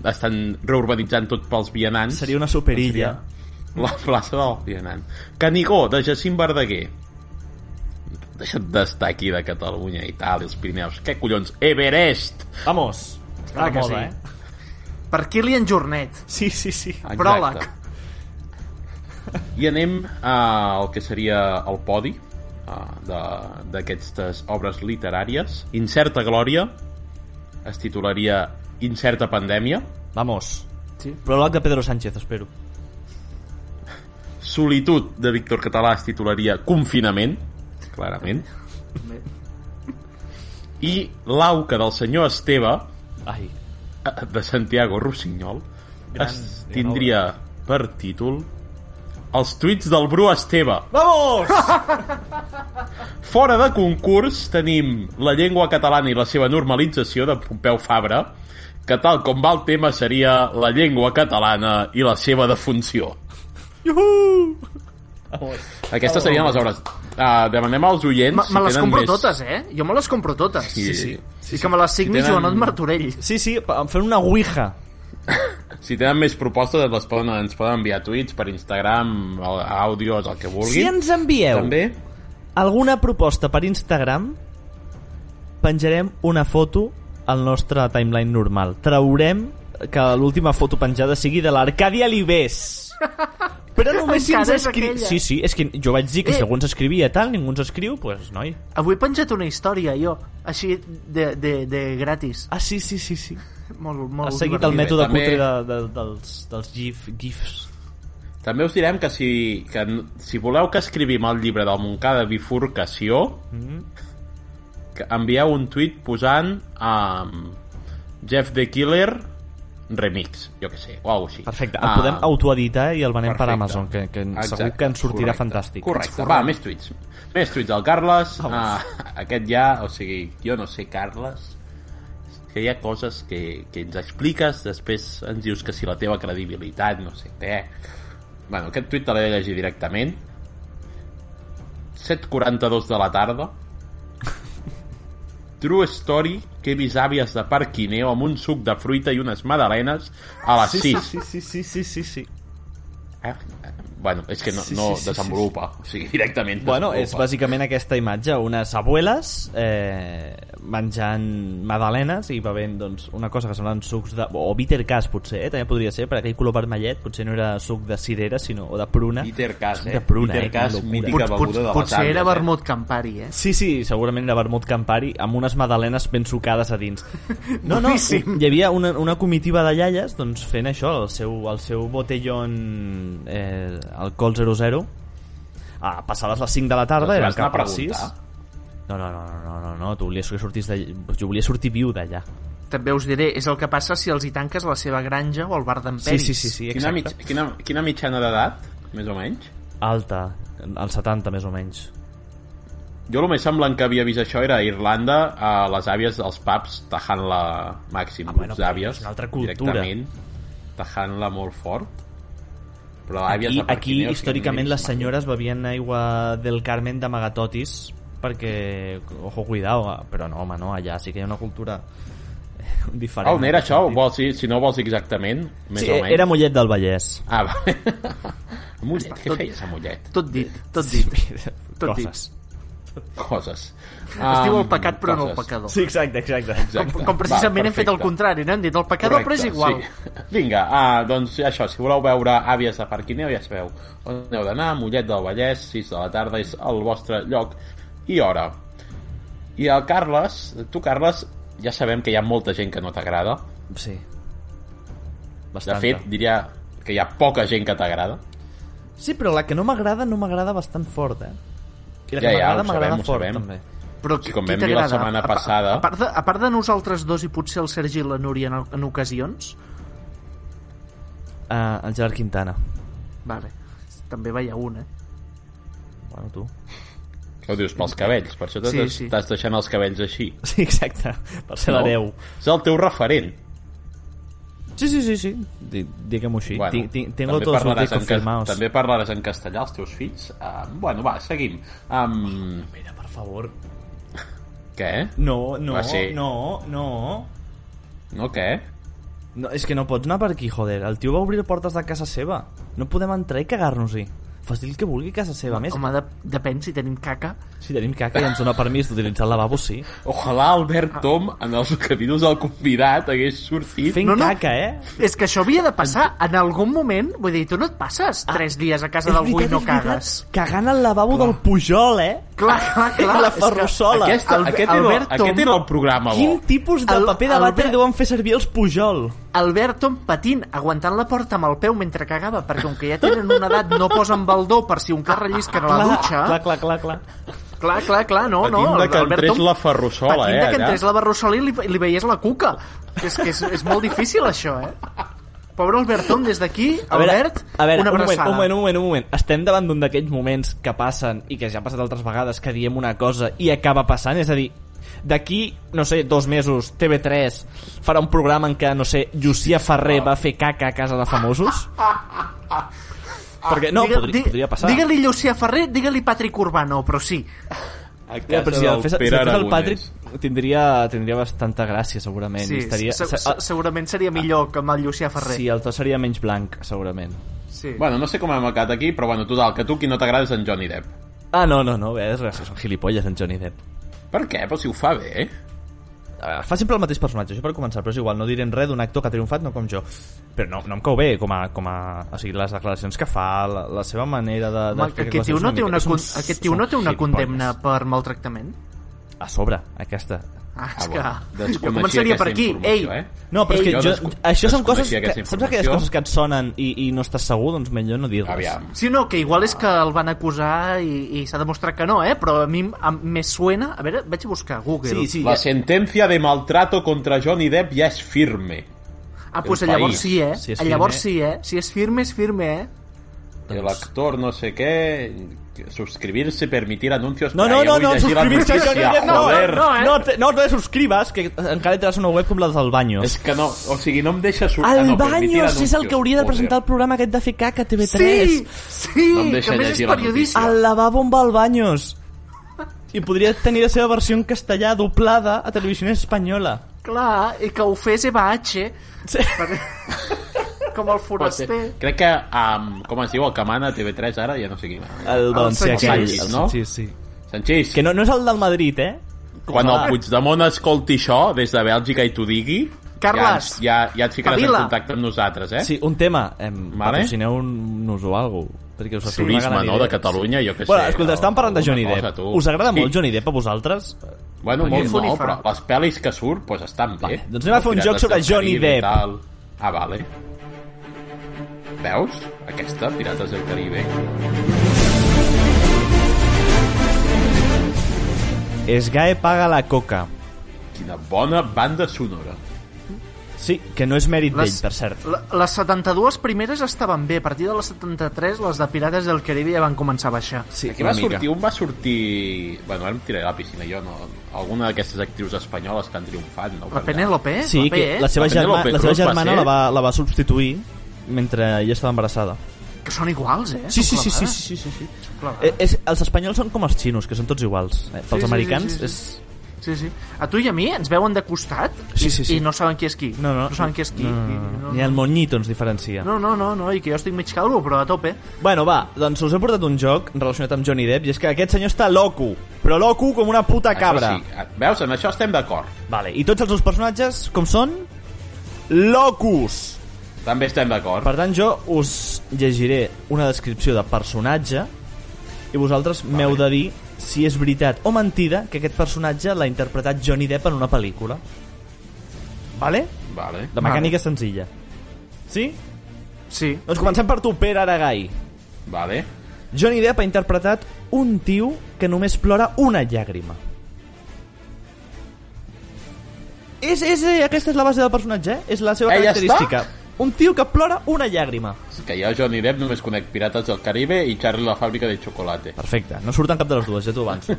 Speaker 3: estan reurbanitzant tot pels vianants...
Speaker 4: Seria una superilla.
Speaker 3: La plaça del vianant. Canigó, de Jacint Verdaguer. Deixa't d'estar aquí de Catalunya i tal, els Pirineus. Què collons? Everest!
Speaker 4: Vamos. Està
Speaker 2: Clar que sí.
Speaker 3: eh?
Speaker 2: Per Kilian Jornet.
Speaker 4: Sí, sí, sí.
Speaker 3: Exacte.
Speaker 2: Pròleg.
Speaker 3: I anem al que seria el podi ah, de- d'aquestes obres literàries. Incerta glòria es titularia Incerta pandèmia.
Speaker 4: Vamos.
Speaker 2: Sí.
Speaker 4: Pròleg de Pedro Sánchez, espero.
Speaker 3: Solitud de Víctor Català es titularia Confinament, clarament. I l'auca del senyor Esteve
Speaker 4: Ai.
Speaker 3: eh, de Santiago Rossinyol es tindria per títol Els tuits del Bru Esteve.
Speaker 4: Vamos!
Speaker 3: Fora de concurs tenim la llengua catalana i la seva normalització de Pompeu Fabra, que tal com va el tema seria la llengua catalana i la seva defunció.
Speaker 4: Juhu!
Speaker 3: Aquestes serien les obres. Uh, demanem als oients...
Speaker 2: Me, me les
Speaker 3: tenen
Speaker 2: compro
Speaker 3: més-
Speaker 2: totes, eh? Jo me les compro totes.
Speaker 3: Sí, sí, sí.
Speaker 2: I que me les signi
Speaker 3: Si tenen-
Speaker 2: Joanot Martorell.
Speaker 4: Sí, sí, pa- fent una ouija.
Speaker 3: Si tenen més propostes, les poden, ens poden enviar tuits per Instagram, a- a àudios, el que
Speaker 4: Si
Speaker 3: vulguin.
Speaker 4: ens envieu
Speaker 3: També.
Speaker 4: alguna proposta per Instagram, penjarem una foto al nostre timeline normal. Traurem que l'última foto penjada sigui de l'Arcadi Alibés. Però només si ens
Speaker 2: Encara és
Speaker 4: escriu...
Speaker 2: aquella.
Speaker 4: Sí, sí, és que jo vaig dir que
Speaker 2: Eh.
Speaker 4: si algú ens escrivia tal, ningú ens escriu, doncs pues, noi.
Speaker 2: Avui he penjat una història, jo, així de, de, de gratis.
Speaker 4: Ah, sí, sí, sí, sí.
Speaker 2: Molt, molt
Speaker 4: Has seguit el mètode
Speaker 3: També-
Speaker 4: cutre de, de, dels, dels gif, gifs.
Speaker 3: També us direm que si, que n- si voleu que escrivim el llibre del Montcada Bifurcació, mm
Speaker 4: Mm-hmm.
Speaker 3: -hmm. envieu un tuit posant um, Jeff the Killer remix, jo que sé, o alguna cosa així.
Speaker 4: Perfecte, el podem autoeditar i el venem per
Speaker 3: Ah. perfecte.
Speaker 4: Amazon, que, que segur
Speaker 3: Exacte,
Speaker 4: que ens sortirà
Speaker 3: correcte.
Speaker 4: fantàstic.
Speaker 3: Correcte, va, més tuits. Més tuits del Carles. Ah, aquest ja, o sigui, jo no sé, Carles, que hi ha coses que, que ens expliques, després ens dius que si la teva credibilitat, no sé què... Bueno, aquest tuit te l'he de llegir directament. 7.42 de la tarda. True story que he vist àvies de Parquineo amb un suc de fruita i unes madalenes a les 6.
Speaker 4: sí, sí, sí, sí, sí, sí.
Speaker 3: Eh? Bueno, és que no,
Speaker 4: Sí,
Speaker 3: no
Speaker 4: sí, sí,
Speaker 3: desenvolupa, o sigui, directament
Speaker 4: Bueno, és
Speaker 3: desenvolupa.
Speaker 4: bàsicament aquesta imatge, unes abueles eh, menjant magdalenes i bevent doncs, una cosa que semblen sucs de... o bitter cas potser, eh, també podria ser, per aquell color vermellet, potser no era suc de cirera, sinó o de pruna.
Speaker 3: Bitter Cas, eh?
Speaker 4: De pruna,
Speaker 3: Bitter
Speaker 4: eh?
Speaker 3: Cas,
Speaker 4: Quina
Speaker 3: mítica beguda
Speaker 4: locura.
Speaker 2: pot,
Speaker 3: de les
Speaker 2: Potser era
Speaker 3: àvies, eh?
Speaker 2: vermut campari, eh?
Speaker 4: Sí, sí, segurament era vermut Campari amb unes magdalenes ben sucades a dins. No, no,
Speaker 2: Boníssim.
Speaker 4: hi havia una, una comitiva de iaies doncs, fent això, el seu, el seu botellón eh, alcohol 00 a passades les 5 de la tarda,
Speaker 3: Els
Speaker 4: era
Speaker 3: Doncs vas anar
Speaker 4: cap
Speaker 3: a
Speaker 4: a 6.
Speaker 3: preguntar?
Speaker 4: No, no, no, no, no, no, no, tu volies que sortís de... Jo volia sortir viu d'allà.
Speaker 2: També us diré, és el que passa si els hi tanques la seva granja o el bar d'en
Speaker 4: Sí,
Speaker 2: Peris.
Speaker 4: sí, sí, sí,
Speaker 3: Quina,
Speaker 4: exacte.
Speaker 3: mitj quina, quina mitjana d'edat, més o menys?
Speaker 4: Alta, al 70 més o menys.
Speaker 3: Jo el més semblant que havia vist això era a Irlanda, a les àvies dels pubs tajant la màxim,
Speaker 4: Ah, bueno,
Speaker 3: les àvies,
Speaker 4: és una altra cultura.
Speaker 3: directament, tajant-la molt fort. Però àvies
Speaker 4: Aquí,
Speaker 3: de
Speaker 4: aquí
Speaker 3: Perpinyà, o sigui, no
Speaker 4: històricament,
Speaker 3: he
Speaker 4: les
Speaker 3: vist mai.
Speaker 4: senyores bevien aigua del Carmen d'amagatotis perquè, ojo, cuidao, però no, home, no, allà sí que hi ha una cultura eh, diferent.
Speaker 3: Ah, on era això? Vols, dir- si no vols dir exactament, més
Speaker 4: Sí, e-
Speaker 3: o menys.
Speaker 4: era Mollet del Vallès.
Speaker 3: Ah, va. Mollet, què
Speaker 2: tot-
Speaker 3: feies a Mollet?
Speaker 2: Tot dit, tot dit. Tot dit.
Speaker 4: Coses.
Speaker 3: Coses.
Speaker 2: Es diu
Speaker 3: Ah,
Speaker 2: el pecat però no el
Speaker 3: coses.
Speaker 2: pecador.
Speaker 4: Sí, exacte, exacte.
Speaker 2: Com,
Speaker 3: Exacte.
Speaker 2: com precisament
Speaker 3: Va,
Speaker 2: hem fet el
Speaker 3: perfecte.
Speaker 2: contrari, no? Hem dit el pecador però és igual.
Speaker 3: Sí. Vinga, ah, doncs això, si voleu veure àvies de Parquineu, ja sabeu on heu d'anar, Mollet del Vallès, 6 de la tarda, és el vostre lloc i hora. I el Carles, tu, Carles, ja sabem que hi ha molta gent que no t'agrada.
Speaker 4: Sí.
Speaker 3: De
Speaker 4: Bastanta.
Speaker 3: fet, diria que hi ha poca gent que t'agrada.
Speaker 4: Sí, però la que no m'agrada, no m'agrada bastant fort, eh? I la
Speaker 3: Ja,
Speaker 4: que
Speaker 3: ja,
Speaker 4: m'agrada,
Speaker 3: ho sabem,
Speaker 4: m'agrada
Speaker 3: ho
Speaker 4: fort,
Speaker 3: sabem.
Speaker 4: també.
Speaker 2: Però
Speaker 3: Sí,
Speaker 2: qui-
Speaker 3: com
Speaker 2: qui
Speaker 3: vam dir la
Speaker 2: t'agrada?
Speaker 3: setmana
Speaker 2: A pa-
Speaker 3: passada.
Speaker 2: A part, de, a part de nosaltres dos i potser el Sergi i la Núria en, en ocasions...
Speaker 4: Uh, el Gerard Quintana.
Speaker 2: Vale. També veia un, eh?
Speaker 4: Bueno, tu.
Speaker 3: Ho dius pels cabells, per això t'has
Speaker 2: Sí,
Speaker 3: sí,
Speaker 2: sí.
Speaker 3: sí. deixant els cabells així.
Speaker 4: Sí, exacte. Per ser no. l'hereu.
Speaker 3: És el teu referent.
Speaker 4: Sí, sí, sí, sí. Di- Diguem-ho així. Bueno, tinc, tinc, tengo
Speaker 3: també
Speaker 4: todos los
Speaker 3: parlaràs
Speaker 4: discos
Speaker 3: en cas-
Speaker 4: firmados.
Speaker 3: També parlaràs en castellà als teus fills. Uh, bueno, va, seguim. Um,
Speaker 4: Mira, per favor.
Speaker 3: què?
Speaker 4: No, no,
Speaker 3: Va, sí.
Speaker 4: no, no.
Speaker 3: No, què?
Speaker 4: No, és que no pots anar per aquí, joder. El tio va obrir portes de casa seva. No podem entrar i cagar-nos-hi. Fas dir el que vulgui a casa seva. A més,
Speaker 2: Home, de, depèn si tenim caca.
Speaker 4: si tenim caca i ens dona permís d'utilitzar el lavabo, sí.
Speaker 3: Ojalà Albert Tom, en els capítols del convidat, hagués sortit...
Speaker 4: Fent
Speaker 2: No,
Speaker 4: no,
Speaker 2: no.
Speaker 4: no. caca, eh?
Speaker 2: És que això havia de passar en algun moment. Vull dir, tu no et passes ah, tres dies a casa d'algú i no
Speaker 4: és
Speaker 2: cagues.
Speaker 4: Cagant al lavabo del Pujol, eh?
Speaker 2: Clar, clar, clar.
Speaker 4: la
Speaker 2: és que
Speaker 4: ferrussola.
Speaker 3: Aquesta,
Speaker 2: Albe-
Speaker 3: aquest, era,
Speaker 2: Albert Tom-
Speaker 3: aquest era el programa bo.
Speaker 4: Quin tipus de
Speaker 2: El-
Speaker 4: paper de
Speaker 2: el
Speaker 4: vàter
Speaker 2: Albert-
Speaker 4: deuen fer servir els Pujol?
Speaker 2: Albert Tom patint, aguantant la porta amb el peu mentre cagava, perquè com que ja tenen una edat no posen baldó per si un car rellisca a la dutxa.
Speaker 4: clar, clar, clar, clar.
Speaker 2: Clar, clar, clar, no, no.
Speaker 3: Patint de que
Speaker 2: Albert
Speaker 3: entrés
Speaker 2: Tom
Speaker 3: la ferrussola,
Speaker 2: patint
Speaker 3: eh,
Speaker 2: de que
Speaker 3: allà.
Speaker 2: entrés la barrussola i li, li veiés la cuca. És que és, és molt difícil, això, eh? Pobre Albertón, des d'aquí, Albert,
Speaker 4: a veure,
Speaker 2: una
Speaker 4: un moment,
Speaker 2: abraçada.
Speaker 4: un moment, un moment, un moment. Estem davant d'un d'aquells moments que passen i que ja ha passat altres vegades que diem una cosa i acaba passant, és a dir, d'aquí, no sé, dos mesos, TV3 farà un programa en què, no sé, Llucia Ferrer va fer caca a casa de famosos? Perquè, no,
Speaker 2: Digue-
Speaker 4: podria,
Speaker 2: di-
Speaker 4: podria passar.
Speaker 2: Digue-li Llucia Ferrer, digue-li Patrick Urbano, però sí.
Speaker 3: A
Speaker 4: Ja, però si el fes, si el,
Speaker 3: Pere
Speaker 4: fes el
Speaker 3: Aragonès.
Speaker 4: Patrick tindria, tindria bastanta gràcia, segurament.
Speaker 2: sí
Speaker 4: i Eh, estaria,
Speaker 2: se,
Speaker 4: se- ah.
Speaker 2: se, segurament seria millor que amb el Llucia Ferrer.
Speaker 4: sí, el to seria menys blanc, segurament.
Speaker 2: sí.
Speaker 3: Bueno, no sé com hem acabat aquí, però bueno, total, que a tu qui no t'agrada és en Johnny Depp.
Speaker 4: Ah, no, no, no, bé, és gràcies, són gilipolles en Johnny Depp.
Speaker 3: Per què? Però si ho fa bé, eh?
Speaker 4: Eh, fa sempre el mateix personatge, això per començar, però és igual, no direm res d'un actor que ha triomfat, no com jo. Però no, no em cau bé, com a, com a... O sigui, les declaracions que fa, la, la seva manera de...
Speaker 2: Ma-
Speaker 4: d'explicar
Speaker 2: Aquest tio
Speaker 4: coses
Speaker 2: no
Speaker 4: és
Speaker 2: té
Speaker 4: mica-
Speaker 2: una,
Speaker 4: són-
Speaker 2: con- aquest tio
Speaker 4: són
Speaker 2: no té una
Speaker 4: gilipolles.
Speaker 2: condemna per maltractament?
Speaker 4: A sobre, aquesta.
Speaker 2: Ah,
Speaker 3: Ah,
Speaker 2: és
Speaker 3: bueno,
Speaker 4: doncs
Speaker 2: que...
Speaker 3: desconeixia
Speaker 2: Jo començaria per
Speaker 3: aquesta
Speaker 2: aquí. Ei,
Speaker 3: informació, eh?
Speaker 4: No, però és
Speaker 3: Ei,
Speaker 4: que jo,
Speaker 3: desco-
Speaker 4: això són
Speaker 3: desconeixia
Speaker 4: coses que...
Speaker 3: aquesta
Speaker 4: Saps aquelles
Speaker 3: informació?
Speaker 4: coses que et sonen i, i no estàs segur? Doncs millor no dir-les.
Speaker 3: Aviam.
Speaker 2: Sí, no, que igual és que el van acusar i, i s'ha demostrat que no, eh? Però a mi em- em- me suena... A veure, vaig a buscar a Google.
Speaker 4: Sí, sí,
Speaker 3: La sentencia de maltrato contra Johnny Depp ja és firme.
Speaker 2: Ah, doncs
Speaker 3: El
Speaker 2: llavors
Speaker 3: país.
Speaker 2: sí, eh?
Speaker 4: Si
Speaker 2: Si
Speaker 4: és firme.
Speaker 2: llavors sí, eh? Si és firme, és firme, eh?
Speaker 3: El
Speaker 4: Doncs-
Speaker 3: actor no sé què... Subscribir-se, permitir anuncios...
Speaker 4: No,
Speaker 3: Ai,
Speaker 4: no,
Speaker 3: avui
Speaker 4: no, no,
Speaker 3: llegir la
Speaker 4: suscribirse a
Speaker 3: notícia,
Speaker 4: Johnny Depp, no,
Speaker 3: joder.
Speaker 4: no,
Speaker 2: eh?
Speaker 4: no, te, no te suscribas, que encara tindràs una web com la del Baños.
Speaker 3: És que no, o sigui, no em deixa... Sur... ah,
Speaker 4: El
Speaker 3: no, permitir
Speaker 4: Baños és el
Speaker 3: anuncios,
Speaker 4: que hauria de
Speaker 3: joder.
Speaker 4: presentar el programa aquest de FK que TV3.
Speaker 2: Sí, sí,
Speaker 3: No em
Speaker 2: que
Speaker 3: deixa
Speaker 2: a més és
Speaker 3: llegir la
Speaker 2: periodista.
Speaker 4: El lavabo amb el Baños. I podria tenir la seva versió en castellà doblada a televisió espanyola.
Speaker 2: Clar, i que ho fes Eva H.
Speaker 4: Sí.
Speaker 2: Com el
Speaker 3: Pot ser.
Speaker 2: foraster.
Speaker 3: Crec que, um, com es diu, el que mana a TV3 ara, ja no sé qui.
Speaker 4: El valencià
Speaker 2: Sanchis,
Speaker 4: aquell. El
Speaker 3: no?
Speaker 4: Sanchis, sí.
Speaker 3: Sanchís,
Speaker 4: Que no, no és el del Madrid, eh?
Speaker 3: quan
Speaker 4: Ah.
Speaker 3: el Puigdemont escolti això des de Bèlgica i t'ho digui,
Speaker 2: Carles,
Speaker 3: ja, ens- ja, ja et ficaràs
Speaker 2: Pavila.
Speaker 3: en contacte amb nosaltres, eh?
Speaker 4: Sí, un tema. Em,
Speaker 3: Vale.
Speaker 4: Patrocineu-nos o alguna cosa. Perquè us sí,
Speaker 3: Turisme, no?, de Catalunya, jo què
Speaker 4: Bueno,
Speaker 3: sé.
Speaker 4: escolta,
Speaker 3: no?
Speaker 4: estàvem parlant de
Speaker 3: Alguna
Speaker 4: Johnny
Speaker 3: cosa,
Speaker 4: Depp.
Speaker 3: tu.
Speaker 4: Us agrada
Speaker 3: Sí.
Speaker 4: molt Johnny Depp a vosaltres?
Speaker 3: Bueno, molt no,
Speaker 2: Funifa.
Speaker 3: però les pel·lis que surt, doncs estan bé.
Speaker 4: Vale, doncs anem a fer un
Speaker 3: Pirates
Speaker 4: joc sobre
Speaker 3: del
Speaker 4: Johnny
Speaker 3: Carib i
Speaker 4: Depp.
Speaker 3: tal. Ah, vale. Veus? Aquesta, Pirates del eh? Caribe.
Speaker 4: Esgae paga la coca.
Speaker 3: Quina bona banda sonora.
Speaker 4: Sí, que no és mèrit
Speaker 2: Les-
Speaker 4: d'ell, per cert.
Speaker 2: La- Les 72 primeres estaven bé, a partir de les 73 les de Pirates del Caribe ja van començar a baixar.
Speaker 4: Sí,
Speaker 3: Aquí va sortir, un va sortir... Bueno, ara em tiraré a la piscina, jo no. Alguna d'aquestes actrius espanyoles que han triomfat, no?
Speaker 2: La Penélope, eh?
Speaker 4: Sí,
Speaker 2: la P,
Speaker 4: que
Speaker 2: eh?
Speaker 4: la seva,
Speaker 3: La
Speaker 4: germa,
Speaker 3: Penélope
Speaker 4: la seva
Speaker 3: Cruz va
Speaker 4: germana
Speaker 3: ser-
Speaker 4: la va, la va substituir mentre ella estava embarassada.
Speaker 2: Que són iguals, eh?
Speaker 4: Sí, sí,
Speaker 2: Són
Speaker 4: sí, sí,
Speaker 2: clavades.
Speaker 4: sí, sí, sí.
Speaker 2: clavades.
Speaker 4: Eh, és, els espanyols són com els xinos, que són tots iguals. Eh? Pels
Speaker 2: sí,
Speaker 4: americans
Speaker 2: sí, sí, sí.
Speaker 4: és...
Speaker 2: Sí, sí. A tu i a mi ens veuen de costat
Speaker 4: Sí,
Speaker 2: i-
Speaker 4: sí, sí.
Speaker 2: i no saben qui és qui.
Speaker 4: No, no,
Speaker 2: no saben qui és qui.
Speaker 4: No,
Speaker 2: I-
Speaker 4: no, no.
Speaker 2: no,
Speaker 4: Ni el monyito ens diferencia.
Speaker 2: No, no, no, no, i que jo estic mig calvo, però a tope.
Speaker 4: Bueno, va, doncs us he portat un joc relacionat amb Johnny Depp, i és que aquest senyor està loco, però loco com una puta cabra.
Speaker 3: Això sí, Ah, veus? En això estem d'acord.
Speaker 4: Vale, i tots els seus personatges, com són? Locus!
Speaker 3: També estem d'acord.
Speaker 4: Per tant, jo us llegiré una descripció de personatge i vosaltres m'heu de dir si és veritat o mentida que aquest personatge l'ha interpretat Johnny Depp en una pel·lícula. Vale?
Speaker 3: Vale.
Speaker 4: La mecànica és senzilla. Sí?
Speaker 2: Sí.
Speaker 4: Doncs comencem per tu, Pere Aragai.
Speaker 3: Vale.
Speaker 4: Johnny Depp ha interpretat un tio que només plora una llàgrima. És, és, eh, aquesta és la base del personatge, eh? És la seva
Speaker 3: Eh, ja
Speaker 4: característica. Un tio que plora una llàgrima.
Speaker 3: És que jo, Johnny Depp, només conec Pirates del Caribe i Charlie la fàbrica de xocolata.
Speaker 4: Perfecte, no surten cap de les dues, ja t'ho avanço.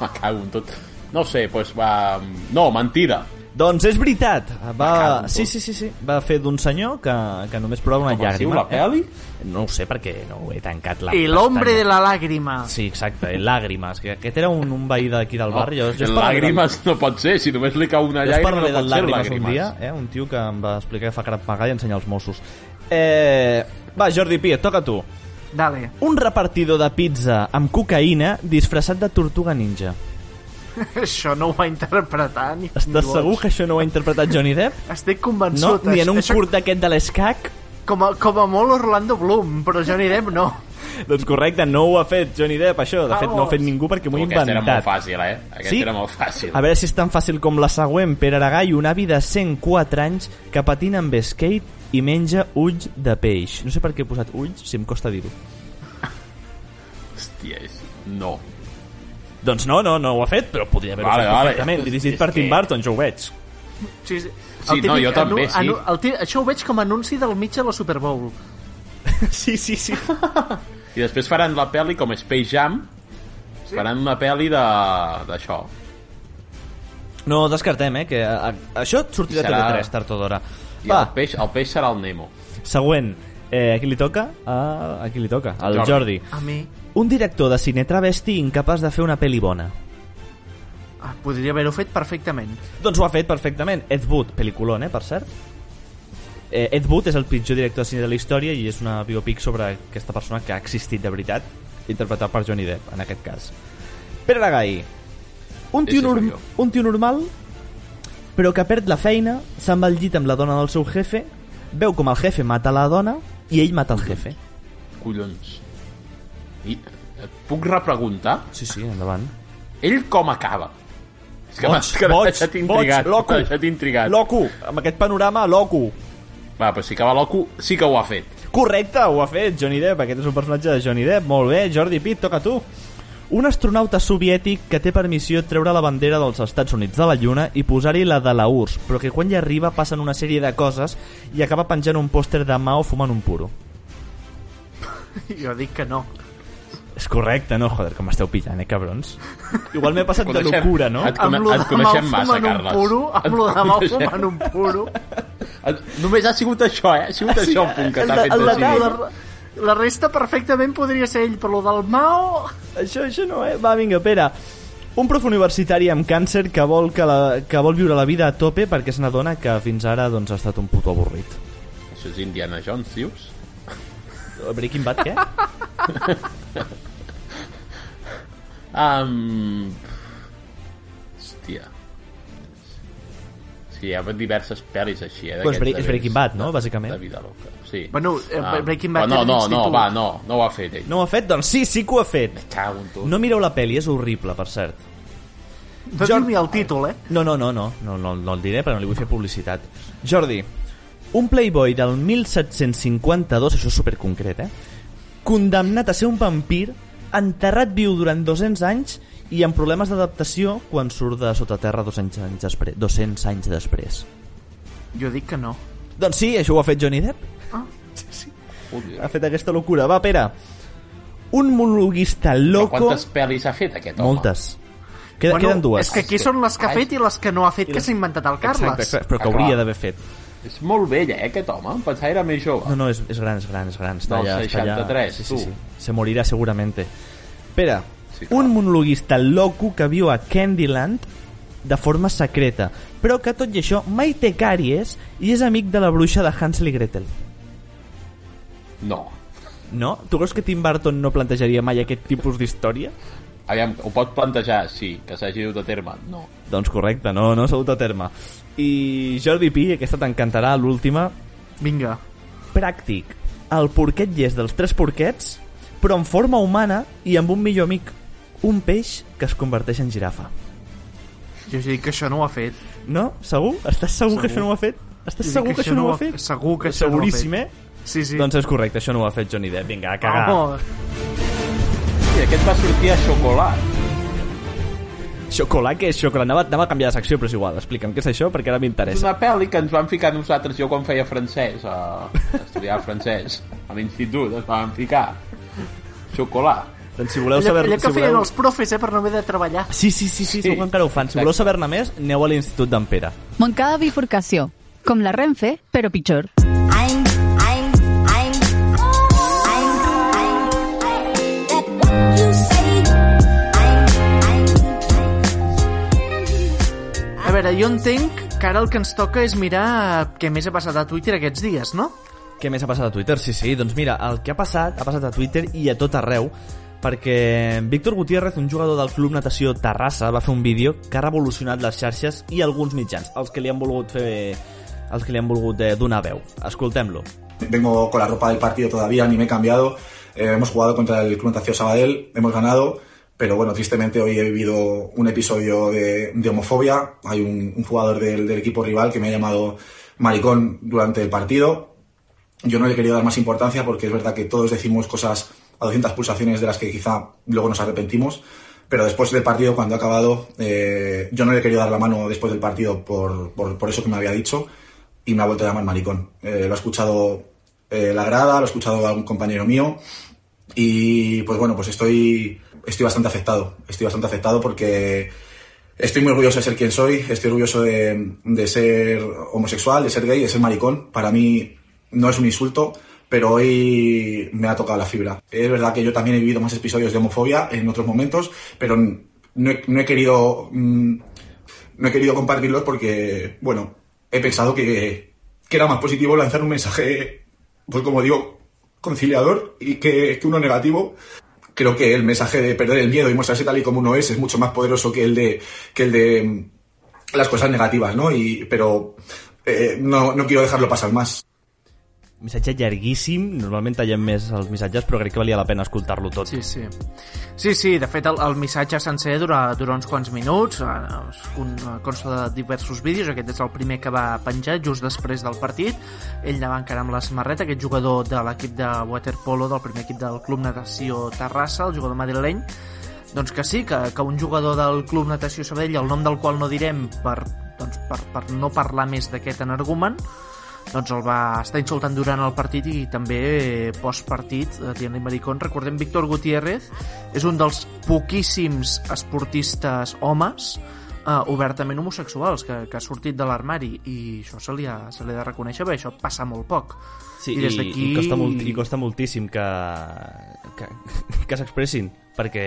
Speaker 3: Me cago en tot. No sé, doncs va... No, mentida.
Speaker 4: Doncs és veritat.
Speaker 3: cago
Speaker 4: Va...
Speaker 3: en
Speaker 4: Sí,
Speaker 3: tot.
Speaker 4: sí, sí, sí. Va fer d'un senyor que, que només plora una
Speaker 3: Com es diu
Speaker 4: llàgrima. eh?
Speaker 3: la peli?
Speaker 4: No ho sé perquè no ho he tancat la
Speaker 2: El hombre de
Speaker 4: pestanya.
Speaker 2: la lágrima.
Speaker 4: Ah, Sí, exacte, el Làgrimes, que aquest era un, un veí d'aquí del barri. Jo, jo
Speaker 3: Oh, en
Speaker 4: es parlaré del-
Speaker 3: Làgrimes no pot ser, si només li cau una
Speaker 4: Jo us
Speaker 3: llàgrima
Speaker 4: parlaré
Speaker 3: no
Speaker 4: del
Speaker 3: pot ser
Speaker 4: Làgrimes un
Speaker 3: Làgrimes.
Speaker 4: dia, eh? un tio que em va explicar que fa crap pagar i ensenya els Mossos. Eh... Va, Jordi Pi, et toca a tu.
Speaker 2: Dale.
Speaker 4: Un repartidor de pizza amb cocaïna disfressat de tortuga ninja.
Speaker 2: Això no ho va interpretar ni ni
Speaker 4: Estàs
Speaker 2: boig.
Speaker 4: segur que això no ho ha interpretat Johnny Depp?
Speaker 2: Estic
Speaker 4: No?
Speaker 2: convençut.
Speaker 4: Ni en un
Speaker 2: Això-
Speaker 4: curt d'aquest de l'escac?
Speaker 2: Com a, com a molt Orlando Bloom, però Johnny Depp no.
Speaker 4: Doncs correcte, no ho ha fet Johnny Depp, això. De fet, no ho ha
Speaker 2: Vamos.
Speaker 4: fet ningú perquè m'ho he
Speaker 3: Aquesta era molt
Speaker 4: inventat.
Speaker 3: fàcil, eh? Aquesta
Speaker 4: Sí?
Speaker 3: era molt fàcil.
Speaker 4: A veure si és tan fàcil com la següent. Pere Aragai, un avi de 104 anys que patina amb skate i menja ulls de peix. No sé per què he posat ulls, si em costa dir-ho.
Speaker 3: Hòstia, és... No.
Speaker 4: Doncs no, no, no ho ha fet, però podria haver-ho
Speaker 3: Vale,
Speaker 4: fet
Speaker 3: vale.
Speaker 4: perfectament. Dirigit
Speaker 3: És
Speaker 4: per Tim
Speaker 3: que-
Speaker 4: Burton, jo ho veig.
Speaker 2: Sí, sí,
Speaker 3: Sí, no, jo també, sí.
Speaker 2: el tí- això ho veig com a anunci del mig a la Super Bowl.
Speaker 4: Sí, sí, sí.
Speaker 3: I després faran la pel·li com Space Jam, sí? faran una pel·li de- d'això.
Speaker 4: No, descartem, eh, que a, a- això et sortirà
Speaker 3: Serà-
Speaker 4: a TV3 tard o d'hora.
Speaker 3: I
Speaker 4: Va,
Speaker 3: el peix, el peix serà el Nemo.
Speaker 4: següent. Eh, a qui li toca? A, a qui li toca? Al
Speaker 3: Jordi.
Speaker 4: Jordi.
Speaker 2: A mi
Speaker 4: Un director de cine travesti incapaç de fer una pel·li bona.
Speaker 2: ah, podria haver-ho fet perfectament.
Speaker 4: Doncs ho ha fet perfectament. Ed Wood, pel·liculón, eh, per cert. Eh, Ed Wood és el pitjor director de cine de la història i és una biopic sobre aquesta persona que ha existit de veritat, interpretat per Johnny Depp, en aquest cas. Pere Lagai, un
Speaker 3: Ese
Speaker 4: tio,
Speaker 3: soy
Speaker 4: norm
Speaker 3: yo.
Speaker 4: un tio normal, però que perd la feina, se'n va al llit amb la dona del seu jefe, veu com el jefe mata la dona i ell mata el jefe.
Speaker 3: Collons. I et puc repreguntar?
Speaker 4: Sí, sí, endavant.
Speaker 3: Ell com acaba? És que m'has
Speaker 4: Boig,
Speaker 3: que m'has
Speaker 4: boig,
Speaker 3: deixat
Speaker 4: boig,
Speaker 3: intrigat.
Speaker 4: loco.
Speaker 3: m'has deixat intrigat.
Speaker 4: Loco, amb aquest panorama, loco.
Speaker 3: Va, però sí que va loco, sí que ho ha fet.
Speaker 4: Correcte, ho ha fet Johnny Depp. Aquest és un personatge de Johnny Depp. Molt bé, Jordi Pitt, toca a tu. Un astronauta soviètic que té per missió treure la bandera dels Estats Units de la Lluna i posar-hi la de la URSS, però que quan hi arriba passen una sèrie de coses i acaba penjant un pòster de Mao fumant un puro.
Speaker 2: Jo dic que no.
Speaker 4: És correcte, no? Joder, com esteu pillant, eh, cabrons? Igual m'he passat de
Speaker 3: Coneixem-
Speaker 4: locura, no?
Speaker 3: Et, come,
Speaker 2: lo
Speaker 3: et
Speaker 2: de
Speaker 3: coneixem
Speaker 2: Mao
Speaker 3: massa,
Speaker 2: fumant
Speaker 3: Carles.
Speaker 2: Un puro, amb
Speaker 3: Et
Speaker 2: lo de mal
Speaker 3: coneixem-
Speaker 2: fumant un puro.
Speaker 3: Et, només ha sigut això, eh? Ha sigut això el punt que t'ha fet
Speaker 2: el
Speaker 3: decidir.
Speaker 2: detall, la, la resta perfectament podria ser ell, però lo del Mao...
Speaker 4: Això, això no, eh? Va, vinga, Pere. Un prof universitari amb càncer que vol, que la, que vol viure la vida a tope perquè se n'adona que fins ara doncs, ha estat un puto avorrit.
Speaker 3: Això és Indiana Jones, dius?
Speaker 4: Breaking Bad, què?
Speaker 3: Um... Hòstia. Sí, hi ha diverses pel·lis així, eh?
Speaker 4: Però és
Speaker 3: d'aquests
Speaker 4: Bre- és
Speaker 3: de-
Speaker 4: Doncs Breaking Bad, eh? no?
Speaker 3: de-
Speaker 4: Bàsicament.
Speaker 3: De vida loca, sí.
Speaker 2: Bueno, eh,
Speaker 3: Ah,
Speaker 2: Breaking
Speaker 3: però
Speaker 2: Bad
Speaker 3: No,
Speaker 2: era
Speaker 3: no, no,
Speaker 2: l'institut.
Speaker 3: va, no, no ho ha fet ell.
Speaker 4: No ho ha fet? Doncs sí, sí que ho ha fet.
Speaker 3: Cago en tu.
Speaker 4: No mireu la pel·li, és horrible, per cert.
Speaker 2: No
Speaker 4: Jo-
Speaker 2: diu ni el títol, eh?
Speaker 4: No, no, no, no, no, no, no el diré, però no li vull fer publicitat. Jordi, un playboy del 1752, això és superconcret, eh? Condemnat a ser un vampir, enterrat viu durant 200 anys i amb problemes d'adaptació quan surt de sota terra 200 anys, després, 200 anys després.
Speaker 2: Jo dic que no.
Speaker 4: Doncs sí, això ho ha fet Johnny Depp.
Speaker 3: Joder.
Speaker 4: Ha fet aquesta locura. Va, Pere, un monologuista
Speaker 3: Però
Speaker 4: loco...
Speaker 3: Quantes pel·lis ha fet aquest home?
Speaker 4: Moltes. Queda, bueno, queden dues.
Speaker 2: és que aquí són les que ha fet i les que no ha fet, que s'ha inventat el Carles.
Speaker 4: Exacte, exacte, però que
Speaker 3: Ah, clar.
Speaker 4: hauria d'haver fet.
Speaker 3: És molt vell, eh, aquest home. Em pensava era més jove.
Speaker 4: No, no, és, és gran, és gran, és gran. Està
Speaker 3: Del
Speaker 4: allà, està allà.
Speaker 3: 63,
Speaker 4: sí, sí,
Speaker 3: tu.
Speaker 4: sí. Se morirà seguramente. Espera,
Speaker 3: Sí,
Speaker 4: sí,
Speaker 3: clar.
Speaker 4: un monologuista loco que viu a Candyland de forma secreta, però que tot i això mai té càries i és amic de la bruixa de Hansel i Gretel.
Speaker 3: No.
Speaker 4: No? Tu creus que Tim Burton no plantejaria mai aquest tipus d'història?
Speaker 3: Aviam, ho pot plantejar, sí, que s'hagi dut a terme. No.
Speaker 4: Doncs correcte, no, no s'ha dut a terme. I Jordi Pi, aquesta t'encantarà, l'última,
Speaker 2: Vinga.
Speaker 4: pràctic. El porquet llest dels tres porquets, però en forma humana i amb un millor amic. Un peix que es converteix en girafa.
Speaker 2: Jo ja dic que això no ho ha fet.
Speaker 4: No? Segur? Estàs segur,
Speaker 2: Segur.
Speaker 4: que això no ho ha fet?
Speaker 2: Jo
Speaker 4: Estàs
Speaker 2: dic
Speaker 4: segur que això no ho ha fet?
Speaker 2: Segur que això no ho ha fet.
Speaker 4: Seguríssim, eh?
Speaker 2: Sí, sí.
Speaker 4: Doncs és correcte, això no ho ha fet Johnny Depp. Vinga, a cagar.
Speaker 2: Vamos.
Speaker 3: Sí, aquest va sortir a xocolat.
Speaker 4: Xocolat, què és xocolat? Anava, anava a canviar de secció, però és igual. Explica'm què és això, perquè ara
Speaker 3: És
Speaker 4: m'interessa.
Speaker 3: una pel·li que ens van ficar nosaltres, jo quan feia francès, a estudiar francès, a l'institut, ens van ficar xocolat.
Speaker 4: Doncs si voleu
Speaker 2: Allò,
Speaker 4: saber...
Speaker 2: allò que
Speaker 4: si
Speaker 2: feien
Speaker 4: voleu...
Speaker 2: els profes, eh, per no haver de treballar.
Speaker 4: Sí, sí, sí,
Speaker 3: Sí.
Speaker 4: sí, sí, segur que encara ho fan. Si
Speaker 3: Exacte.
Speaker 4: voleu saber-ne més, aneu a l'Institut d'en Pere.
Speaker 5: Montcada bifurcació. Com la Renfe, però pitjor.
Speaker 6: I'm, I'm, I'm, I'm, I'm, I'm, that what you say.
Speaker 2: A veure, jo entenc que ara el que ens toca és mirar què més ha passat a Twitter aquests dies, no?
Speaker 4: Què més ha passat a Twitter? Sí, sí, doncs mira, el que ha passat, ha passat a Twitter i a tot arreu, perquè Víctor Gutiérrez, un jugador del Club Natació Terrassa, va fer un vídeo que ha revolucionat les xarxes i alguns mitjans, els que li han volgut fer els que li han volgut eh, donar veu. Escoltem-lo.
Speaker 7: Vengo con la ropa del partido todavía, ni me he cambiado. Eh, hemos jugado contra el Club Natació Sabadell, hemos ganado, pero bueno, tristemente hoy he vivido un episodio de, de homofobia. Hay un, un jugador del, del equipo rival que me ha llamado maricón durante el partido. Yo no le he querido dar más importancia porque es verdad que todos decimos cosas a 200 pulsaciones de las que quizá luego nos arrepentimos, Pero después del partido, cuando ha acabado, eh, yo no le he querido dar la mano después del partido por, por, por eso que me había dicho y me ha vuelto a llamar maricón. Eh, lo ha escuchado eh, la grada, lo ha escuchado algún compañero mío y pues bueno, pues estoy, estoy bastante afectado. Estoy bastante afectado porque estoy muy orgulloso de ser quien soy, estoy orgulloso de, de ser homosexual, de ser gay, de ser maricón. Para mí no es un insulto, pero hoy me ha tocado la fibra. Es verdad que yo también he vivido más episodios de homofobia en otros momentos, pero no he, no he querido mm, no he querido compartirlos porque, bueno, he pensado que, que era más positivo lanzar un mensaje, pues como digo, conciliador y que, que uno negativo. Creo que el mensaje de perder el miedo y mostrarse tal y como uno es es mucho más poderoso que el de, que el de mm, las cosas negativas, ¿no? Y, pero eh, no, no quiero dejarlo pasar más.
Speaker 4: Missatge llarguíssim, normalment tallem més els missatges, però crec que valia la pena escoltar-lo tot.
Speaker 2: Sí, sí. Sí, sí, de fet el, el missatge sencer dura, dura uns quants minuts, eh, es con- eh, consta de diversos vídeos, aquest és el primer que va penjar just després del partit, ell anava encara amb la samarreta, aquest jugador de l'equip de waterpolo, del primer equip del Club Natació Terrassa, el jugador madrileny, doncs que sí, que, que un jugador del Club Natació Sabadell, el nom del qual no direm per, doncs per, per no parlar més d'aquest energumen, doncs el va estar insultant durant el partit i també eh, postpartit eh, dient-li maricón. Recordem, Víctor Gutiérrez és un dels poquíssims esportistes homes eh, obertament homosexuals que, que ha sortit de l'armari i això se li ha, se li ha de reconèixer bé, això passa molt poc.
Speaker 4: Sí, i, i, i, costa molt, i costa moltíssim que, que, que s'expressin, perquè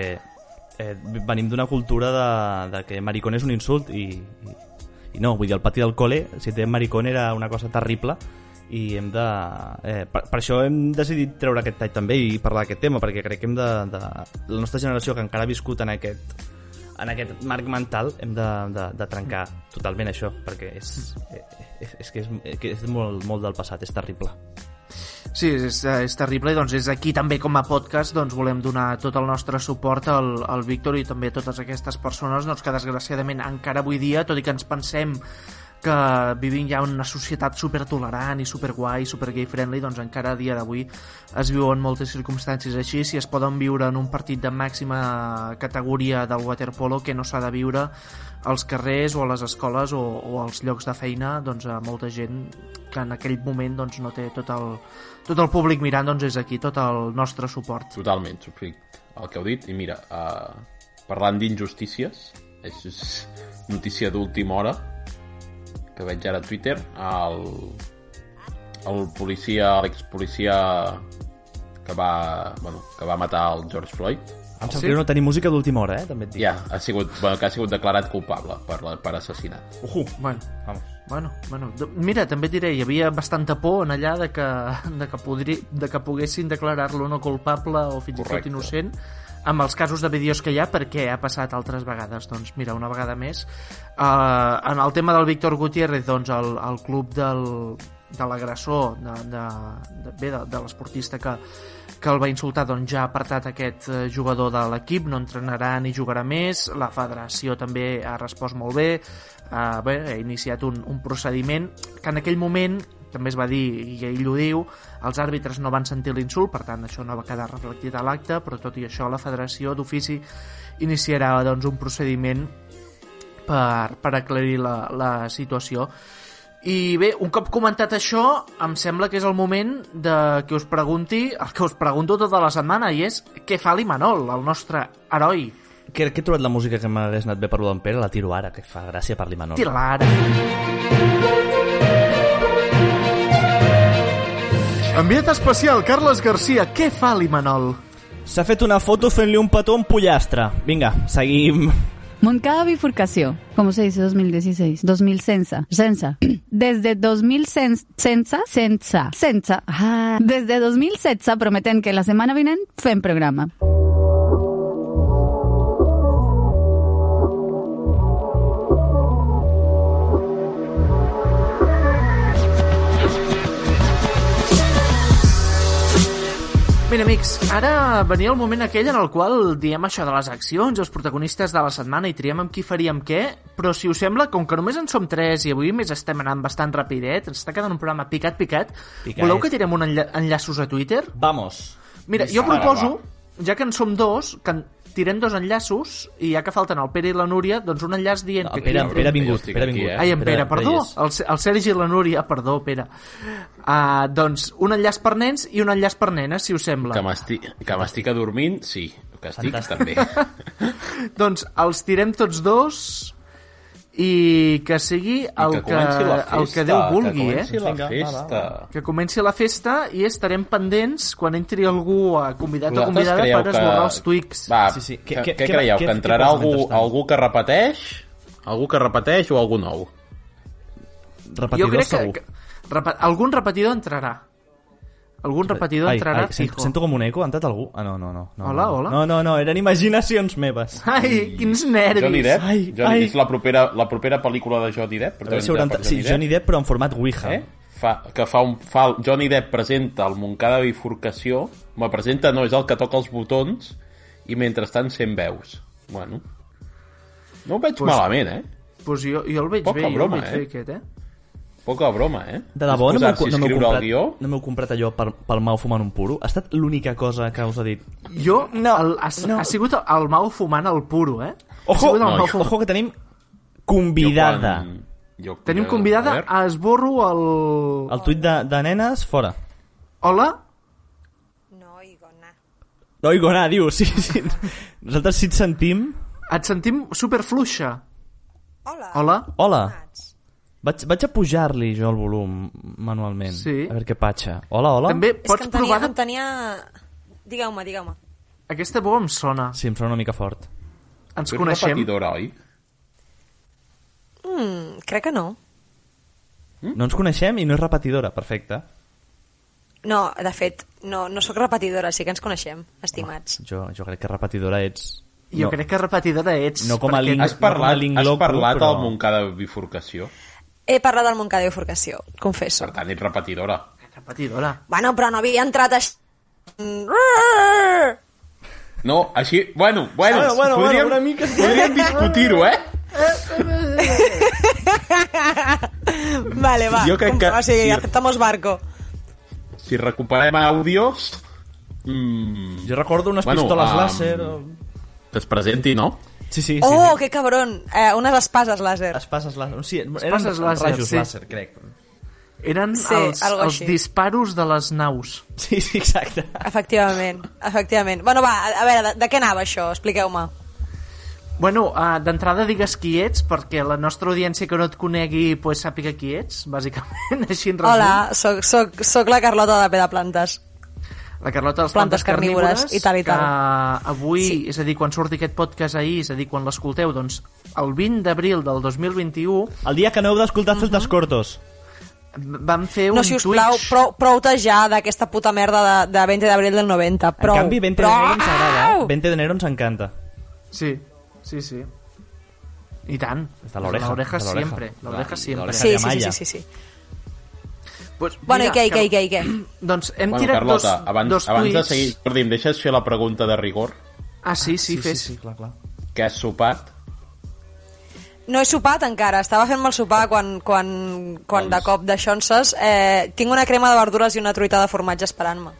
Speaker 4: eh, venim d'una cultura de, de que maricón és un insult i, i, i no, vull dir, al pati del col·le, si té maricón era una cosa terrible i hem de... Eh, per, per això hem decidit treure aquest tall també i parlar d'aquest tema, perquè crec que hem de, de... La nostra generació, que encara ha viscut en aquest en aquest marc mental hem de, de, de trencar totalment això perquè és, eh, és, és, que és, que és molt, molt del passat, és terrible
Speaker 2: Sí, és, és terrible i doncs és aquí també com a podcast doncs volem donar tot el nostre suport al, al Víctor i també a totes aquestes persones doncs, que desgraciadament encara avui dia, tot i que ens pensem que vivim ja en una societat supertolerant i superguai, supergay friendly, doncs encara a dia d'avui es viuen moltes circumstàncies així, si es poden viure en un partit de màxima categoria del waterpolo que no s'ha de viure als carrers o a les escoles o, o als llocs de feina, doncs a molta gent que en aquell moment doncs, no té tot el, tot el públic mirant, doncs és aquí tot el nostre suport.
Speaker 3: Totalment, subscric el que heu dit. I mira, uh, parlant d'injustícies, és, és notícia d'última hora, que veig ara a Twitter, el, el policia, l'expolicia que va, bueno, que va matar el George Floyd,
Speaker 4: em sap
Speaker 2: Sí?
Speaker 4: sí? greu no tenir música d'última hora, eh? també et dic
Speaker 3: ja, ha sigut, bueno, que ha sigut declarat culpable per, la- per assassinat.
Speaker 4: Ujú.
Speaker 2: Bueno,
Speaker 4: Vamos.
Speaker 2: bueno, bueno. D- Mira, també et diré, hi havia bastanta por en allà de que, de que, podri, de que poguessin declarar-lo no culpable o fins i
Speaker 3: Correcte.
Speaker 2: tot innocent amb els casos de vídeos que hi ha perquè ha passat altres vegades. Doncs mira, una vegada més. eh, en el tema del Víctor Gutiérrez, doncs el, el club del, de l'agressor, de, de, de, bé, de, de l'esportista que, que el va insultar doncs ja ha apartat aquest eh, jugador de l'equip, no entrenarà ni jugarà més, la federació també ha respost molt bé, eh, bé ha iniciat un, un procediment que en aquell moment també es va dir, i ell ho diu, els àrbitres no van sentir l'insult, per tant això no va quedar reflectit a l'acte, però tot i això la federació d'ofici iniciarà doncs, un procediment per, per aclarir la, la situació. I bé, un cop comentat això, em sembla que és el moment de que us pregunti el que us pregunto tota la setmana, i és què fa l'Imanol, el nostre heroi?
Speaker 4: que, que he trobat la música que m'hagués anat bé per lo d'en Pere la tiro ara, que fa gràcia per l'Imanol
Speaker 2: Tira ara. Enviat especial, Carles Garcia, què fa l'Imanol?
Speaker 4: s'ha fet una foto fent-li un petó a un pollastre vinga, seguim
Speaker 5: Moncada bifurcació, ¿cómo se dice 2016? 2000 censa, censa. Desde 2000 cen- censa, censa, censa. Ah, Desde 2000 censa prometen que la semana vinent fem programa.
Speaker 2: Mira, amics, ara venia el moment aquell en el qual diem això de les accions, els protagonistes de la setmana i triem amb qui faríem què, però si us sembla, com que només en som tres i avui més estem anant bastant rapidet, ens està quedant un programa picat, picat,
Speaker 4: Picat.
Speaker 2: voleu que tirem un enlla enllaços a Twitter?
Speaker 4: vamos
Speaker 2: Mira, jo proposo... ja que en som dos, que en- tirem dos enllaços i ja que falten el Pere i la Núria, doncs un enllaç dient
Speaker 4: No,
Speaker 2: que...
Speaker 4: Pere,
Speaker 2: aquí-
Speaker 4: Pere ha
Speaker 3: Jo
Speaker 4: vingut,
Speaker 3: estic
Speaker 4: Pere ha
Speaker 3: aquí,
Speaker 4: vingut.
Speaker 3: eh?
Speaker 2: Ai, en Pere, perdó,
Speaker 4: hi és.
Speaker 2: el, el Sergi i la Núria, perdó, Pere. Uh, doncs un enllaç per nens i un enllaç per nenes, si us sembla.
Speaker 3: Que m'estic, que m'estic adormint, sí. Que estic també.
Speaker 2: Doncs els tirem tots dos i que sigui el
Speaker 3: I
Speaker 2: que, el que Déu vulgui,
Speaker 3: que comenci
Speaker 2: eh?
Speaker 3: la
Speaker 4: Vinga, va,
Speaker 3: festa.
Speaker 2: Que comenci la festa i estarem pendents quan entri algú a convidat o
Speaker 3: Vosaltres
Speaker 2: convidada
Speaker 3: creieu
Speaker 2: per esborrar els tuics.
Speaker 3: Va,
Speaker 4: Sí, sí.
Speaker 3: Què,
Speaker 4: Què-
Speaker 3: què,
Speaker 4: què-
Speaker 3: creieu?
Speaker 4: què-
Speaker 3: que
Speaker 4: què
Speaker 3: entrarà
Speaker 4: passa
Speaker 3: algú,
Speaker 4: mentrestant?
Speaker 3: algú que repeteix? Algú que repeteix o algú nou?
Speaker 4: Repetidor, segur.
Speaker 2: que, que repa, algun repetidor entrarà. Algun repetidor
Speaker 4: Ai,
Speaker 2: entrarà,
Speaker 4: ai, sento,
Speaker 2: fijo.
Speaker 4: sento com un eco, ha entrat algú? Ah, no, no, no. no
Speaker 2: Hola,
Speaker 4: no.
Speaker 2: hola.
Speaker 4: No, no, no, eren imaginacions meves.
Speaker 2: Ai, quins nervis.
Speaker 3: Johnny Depp?
Speaker 4: Ai,
Speaker 3: Johnny,
Speaker 4: ai.
Speaker 3: És la propera, la propera pel·lícula de Johnny Depp?
Speaker 4: A veure si hauran...
Speaker 3: protagonitzada per
Speaker 4: Sí, Johnny Depp, però en format Ouija.
Speaker 3: Eh? Fa, que fa un... Fa, el- Johnny Depp presenta el Moncada Bifurcació. Me presenta, no, és el que toca els botons i mentrestant sent veus. Bueno. No ho veig
Speaker 2: Pues-
Speaker 3: pues... malament, eh?
Speaker 2: Pues jo, jo el veig
Speaker 3: Poca
Speaker 2: bé,
Speaker 3: broma,
Speaker 2: jo el veig
Speaker 3: eh?
Speaker 2: bé aquest, eh?
Speaker 3: Poca broma, eh?
Speaker 4: De debò,
Speaker 3: És
Speaker 4: no m'heu
Speaker 3: posar-s'hi a
Speaker 4: no m'heu
Speaker 3: escriure
Speaker 4: comprat,
Speaker 3: el guió.
Speaker 4: no m'heu comprat allò pel, pel mau fumant un puro? Ha estat l'única cosa que us ha dit.
Speaker 2: Jo, no, el, ha, no. ha sigut el Mau fumant el puro, eh? ha
Speaker 4: Ojo,
Speaker 2: sigut el
Speaker 3: no,
Speaker 2: Mau
Speaker 3: jo-
Speaker 2: fumant.
Speaker 4: ojo que tenim convidada.
Speaker 3: Jo quan- Jo,
Speaker 2: Tenim
Speaker 3: jo-
Speaker 2: convidada
Speaker 3: veure.
Speaker 2: a Esborro el...
Speaker 4: El tuit de, de nenes, fora.
Speaker 2: Hola?
Speaker 6: No oigo nada.
Speaker 4: No oigo nada, diu. Sí, sí. Nosaltres sí et sentim.
Speaker 2: Et sentim superfluixa.
Speaker 6: Hola.
Speaker 2: Hola?
Speaker 4: Hola.
Speaker 6: com ets?
Speaker 4: Vaig, vaig a pujar-li jo el volum manualment.
Speaker 2: Sí.
Speaker 4: A veure què patxa. Hola, hola.
Speaker 2: També
Speaker 6: Oh, És que
Speaker 2: pots
Speaker 6: em tenia...
Speaker 2: provar...
Speaker 6: Em
Speaker 2: De...
Speaker 6: tenia... Digueu-me, digueu-me.
Speaker 2: Aquesta veu em sona.
Speaker 4: Sí, em sona una mica fort.
Speaker 2: Ens
Speaker 3: Tu ets
Speaker 2: coneixem.
Speaker 3: repetidora, oi?
Speaker 6: Mm, crec que no.
Speaker 3: Mm?
Speaker 4: No ens coneixem i no és repetidora, perfecte.
Speaker 6: No, de fet, no, no sóc repetidora, sí que ens coneixem, estimats.
Speaker 4: Jo, jo crec que repetidora ets...
Speaker 2: Jo
Speaker 4: no.
Speaker 2: crec que repetidora ets.
Speaker 4: No com a
Speaker 2: perquè-
Speaker 4: Link-
Speaker 3: Has
Speaker 4: no com a
Speaker 3: parlat,
Speaker 4: Link
Speaker 3: has
Speaker 4: Loco,
Speaker 3: parlat
Speaker 4: però-
Speaker 3: al Moncada Bifurcació.
Speaker 6: He parlat del Montcada i Forcació, confesso.
Speaker 3: Per tant, ets repetidora.
Speaker 2: Repetidora.
Speaker 6: Bueno, però no havia entrat així... Mm,
Speaker 3: No, així... Bueno, bueno,
Speaker 4: Bueno, bueno, bueno,
Speaker 3: podríem,
Speaker 4: una mica-
Speaker 3: podríem discutir-ho, eh?
Speaker 6: Vale, va.
Speaker 3: Jo crec que-
Speaker 6: O sigui,
Speaker 3: sí.
Speaker 6: aceptamos barco.
Speaker 3: Si recuperem àudios... Mm,
Speaker 4: Jo recordo unes
Speaker 3: Bueno,
Speaker 4: pistoles
Speaker 3: um,
Speaker 4: làser... O...
Speaker 3: que es presenti, no?
Speaker 4: Sí, sí, sí.
Speaker 6: Oh, que cabron! Eh, unes espases làser.
Speaker 4: Espases làser. Sí, eren
Speaker 2: Espases làser,
Speaker 4: rajos
Speaker 2: sí.
Speaker 4: làser, crec.
Speaker 2: Eren
Speaker 6: Sí,
Speaker 2: els,
Speaker 6: algo
Speaker 2: els
Speaker 6: així.
Speaker 2: disparos de les naus.
Speaker 4: Sí, sí, exacte.
Speaker 6: Efectivament, efectivament. Bueno, va, a, a veure, de, de què anava això? Expliqueu-me.
Speaker 2: Bueno, uh, d'entrada digues qui ets, perquè la nostra audiència que no et conegui pues, sàpiga qui ets, bàsicament, així en resum.
Speaker 6: Hola, soc, soc, soc la Carlota de Pedaplantes.
Speaker 2: La Carlota de les
Speaker 6: Plantes
Speaker 2: plantes, carnívores,
Speaker 6: carnívores, i tal, i
Speaker 2: que avui, sí. és a dir, quan surti aquest podcast ahir, és a dir, quan l'escolteu, doncs el 20 d'abril del 2021
Speaker 4: El dia que no heu d'escoltar Celtas Cortos.
Speaker 2: vam fer
Speaker 6: No,
Speaker 2: un
Speaker 6: si us plau,
Speaker 2: Twitch...
Speaker 6: prou, prou ja d'aquesta puta merda de, de 20 d'abril del 90. Prou.
Speaker 4: en canvi, 20 de
Speaker 6: prou.
Speaker 4: enero ens agrada, eh? 20 de enero ens encanta.
Speaker 2: Sí, sí, sí. I tant.
Speaker 4: Des de l'oreja,
Speaker 2: L'oreja
Speaker 4: des de l'oreja.
Speaker 2: sempre. L'oreja
Speaker 4: I
Speaker 2: sempre.
Speaker 4: l'oreja.
Speaker 6: Sí, sí,
Speaker 4: Malla.
Speaker 6: sí, sí, sí, sí.
Speaker 2: Pues,
Speaker 6: Bueno, i què, i què, i què, i què?
Speaker 2: Doncs hem
Speaker 3: Bueno,
Speaker 2: tirat
Speaker 3: Carlota,
Speaker 2: dos,
Speaker 3: abans,
Speaker 2: dos
Speaker 3: abans de
Speaker 2: tuits.
Speaker 3: seguir... Jordi, em deixes fer la pregunta de rigor?
Speaker 2: Ah, sí, sí, fes.
Speaker 4: sí, clar, clar.
Speaker 3: Que has sopat?
Speaker 6: No he sopat encara, estava fent-me el sopar quan, quan, quan de
Speaker 3: Doncs-
Speaker 6: cop de xonses eh, tinc una crema de verdures i una truita de formatge esperant-me.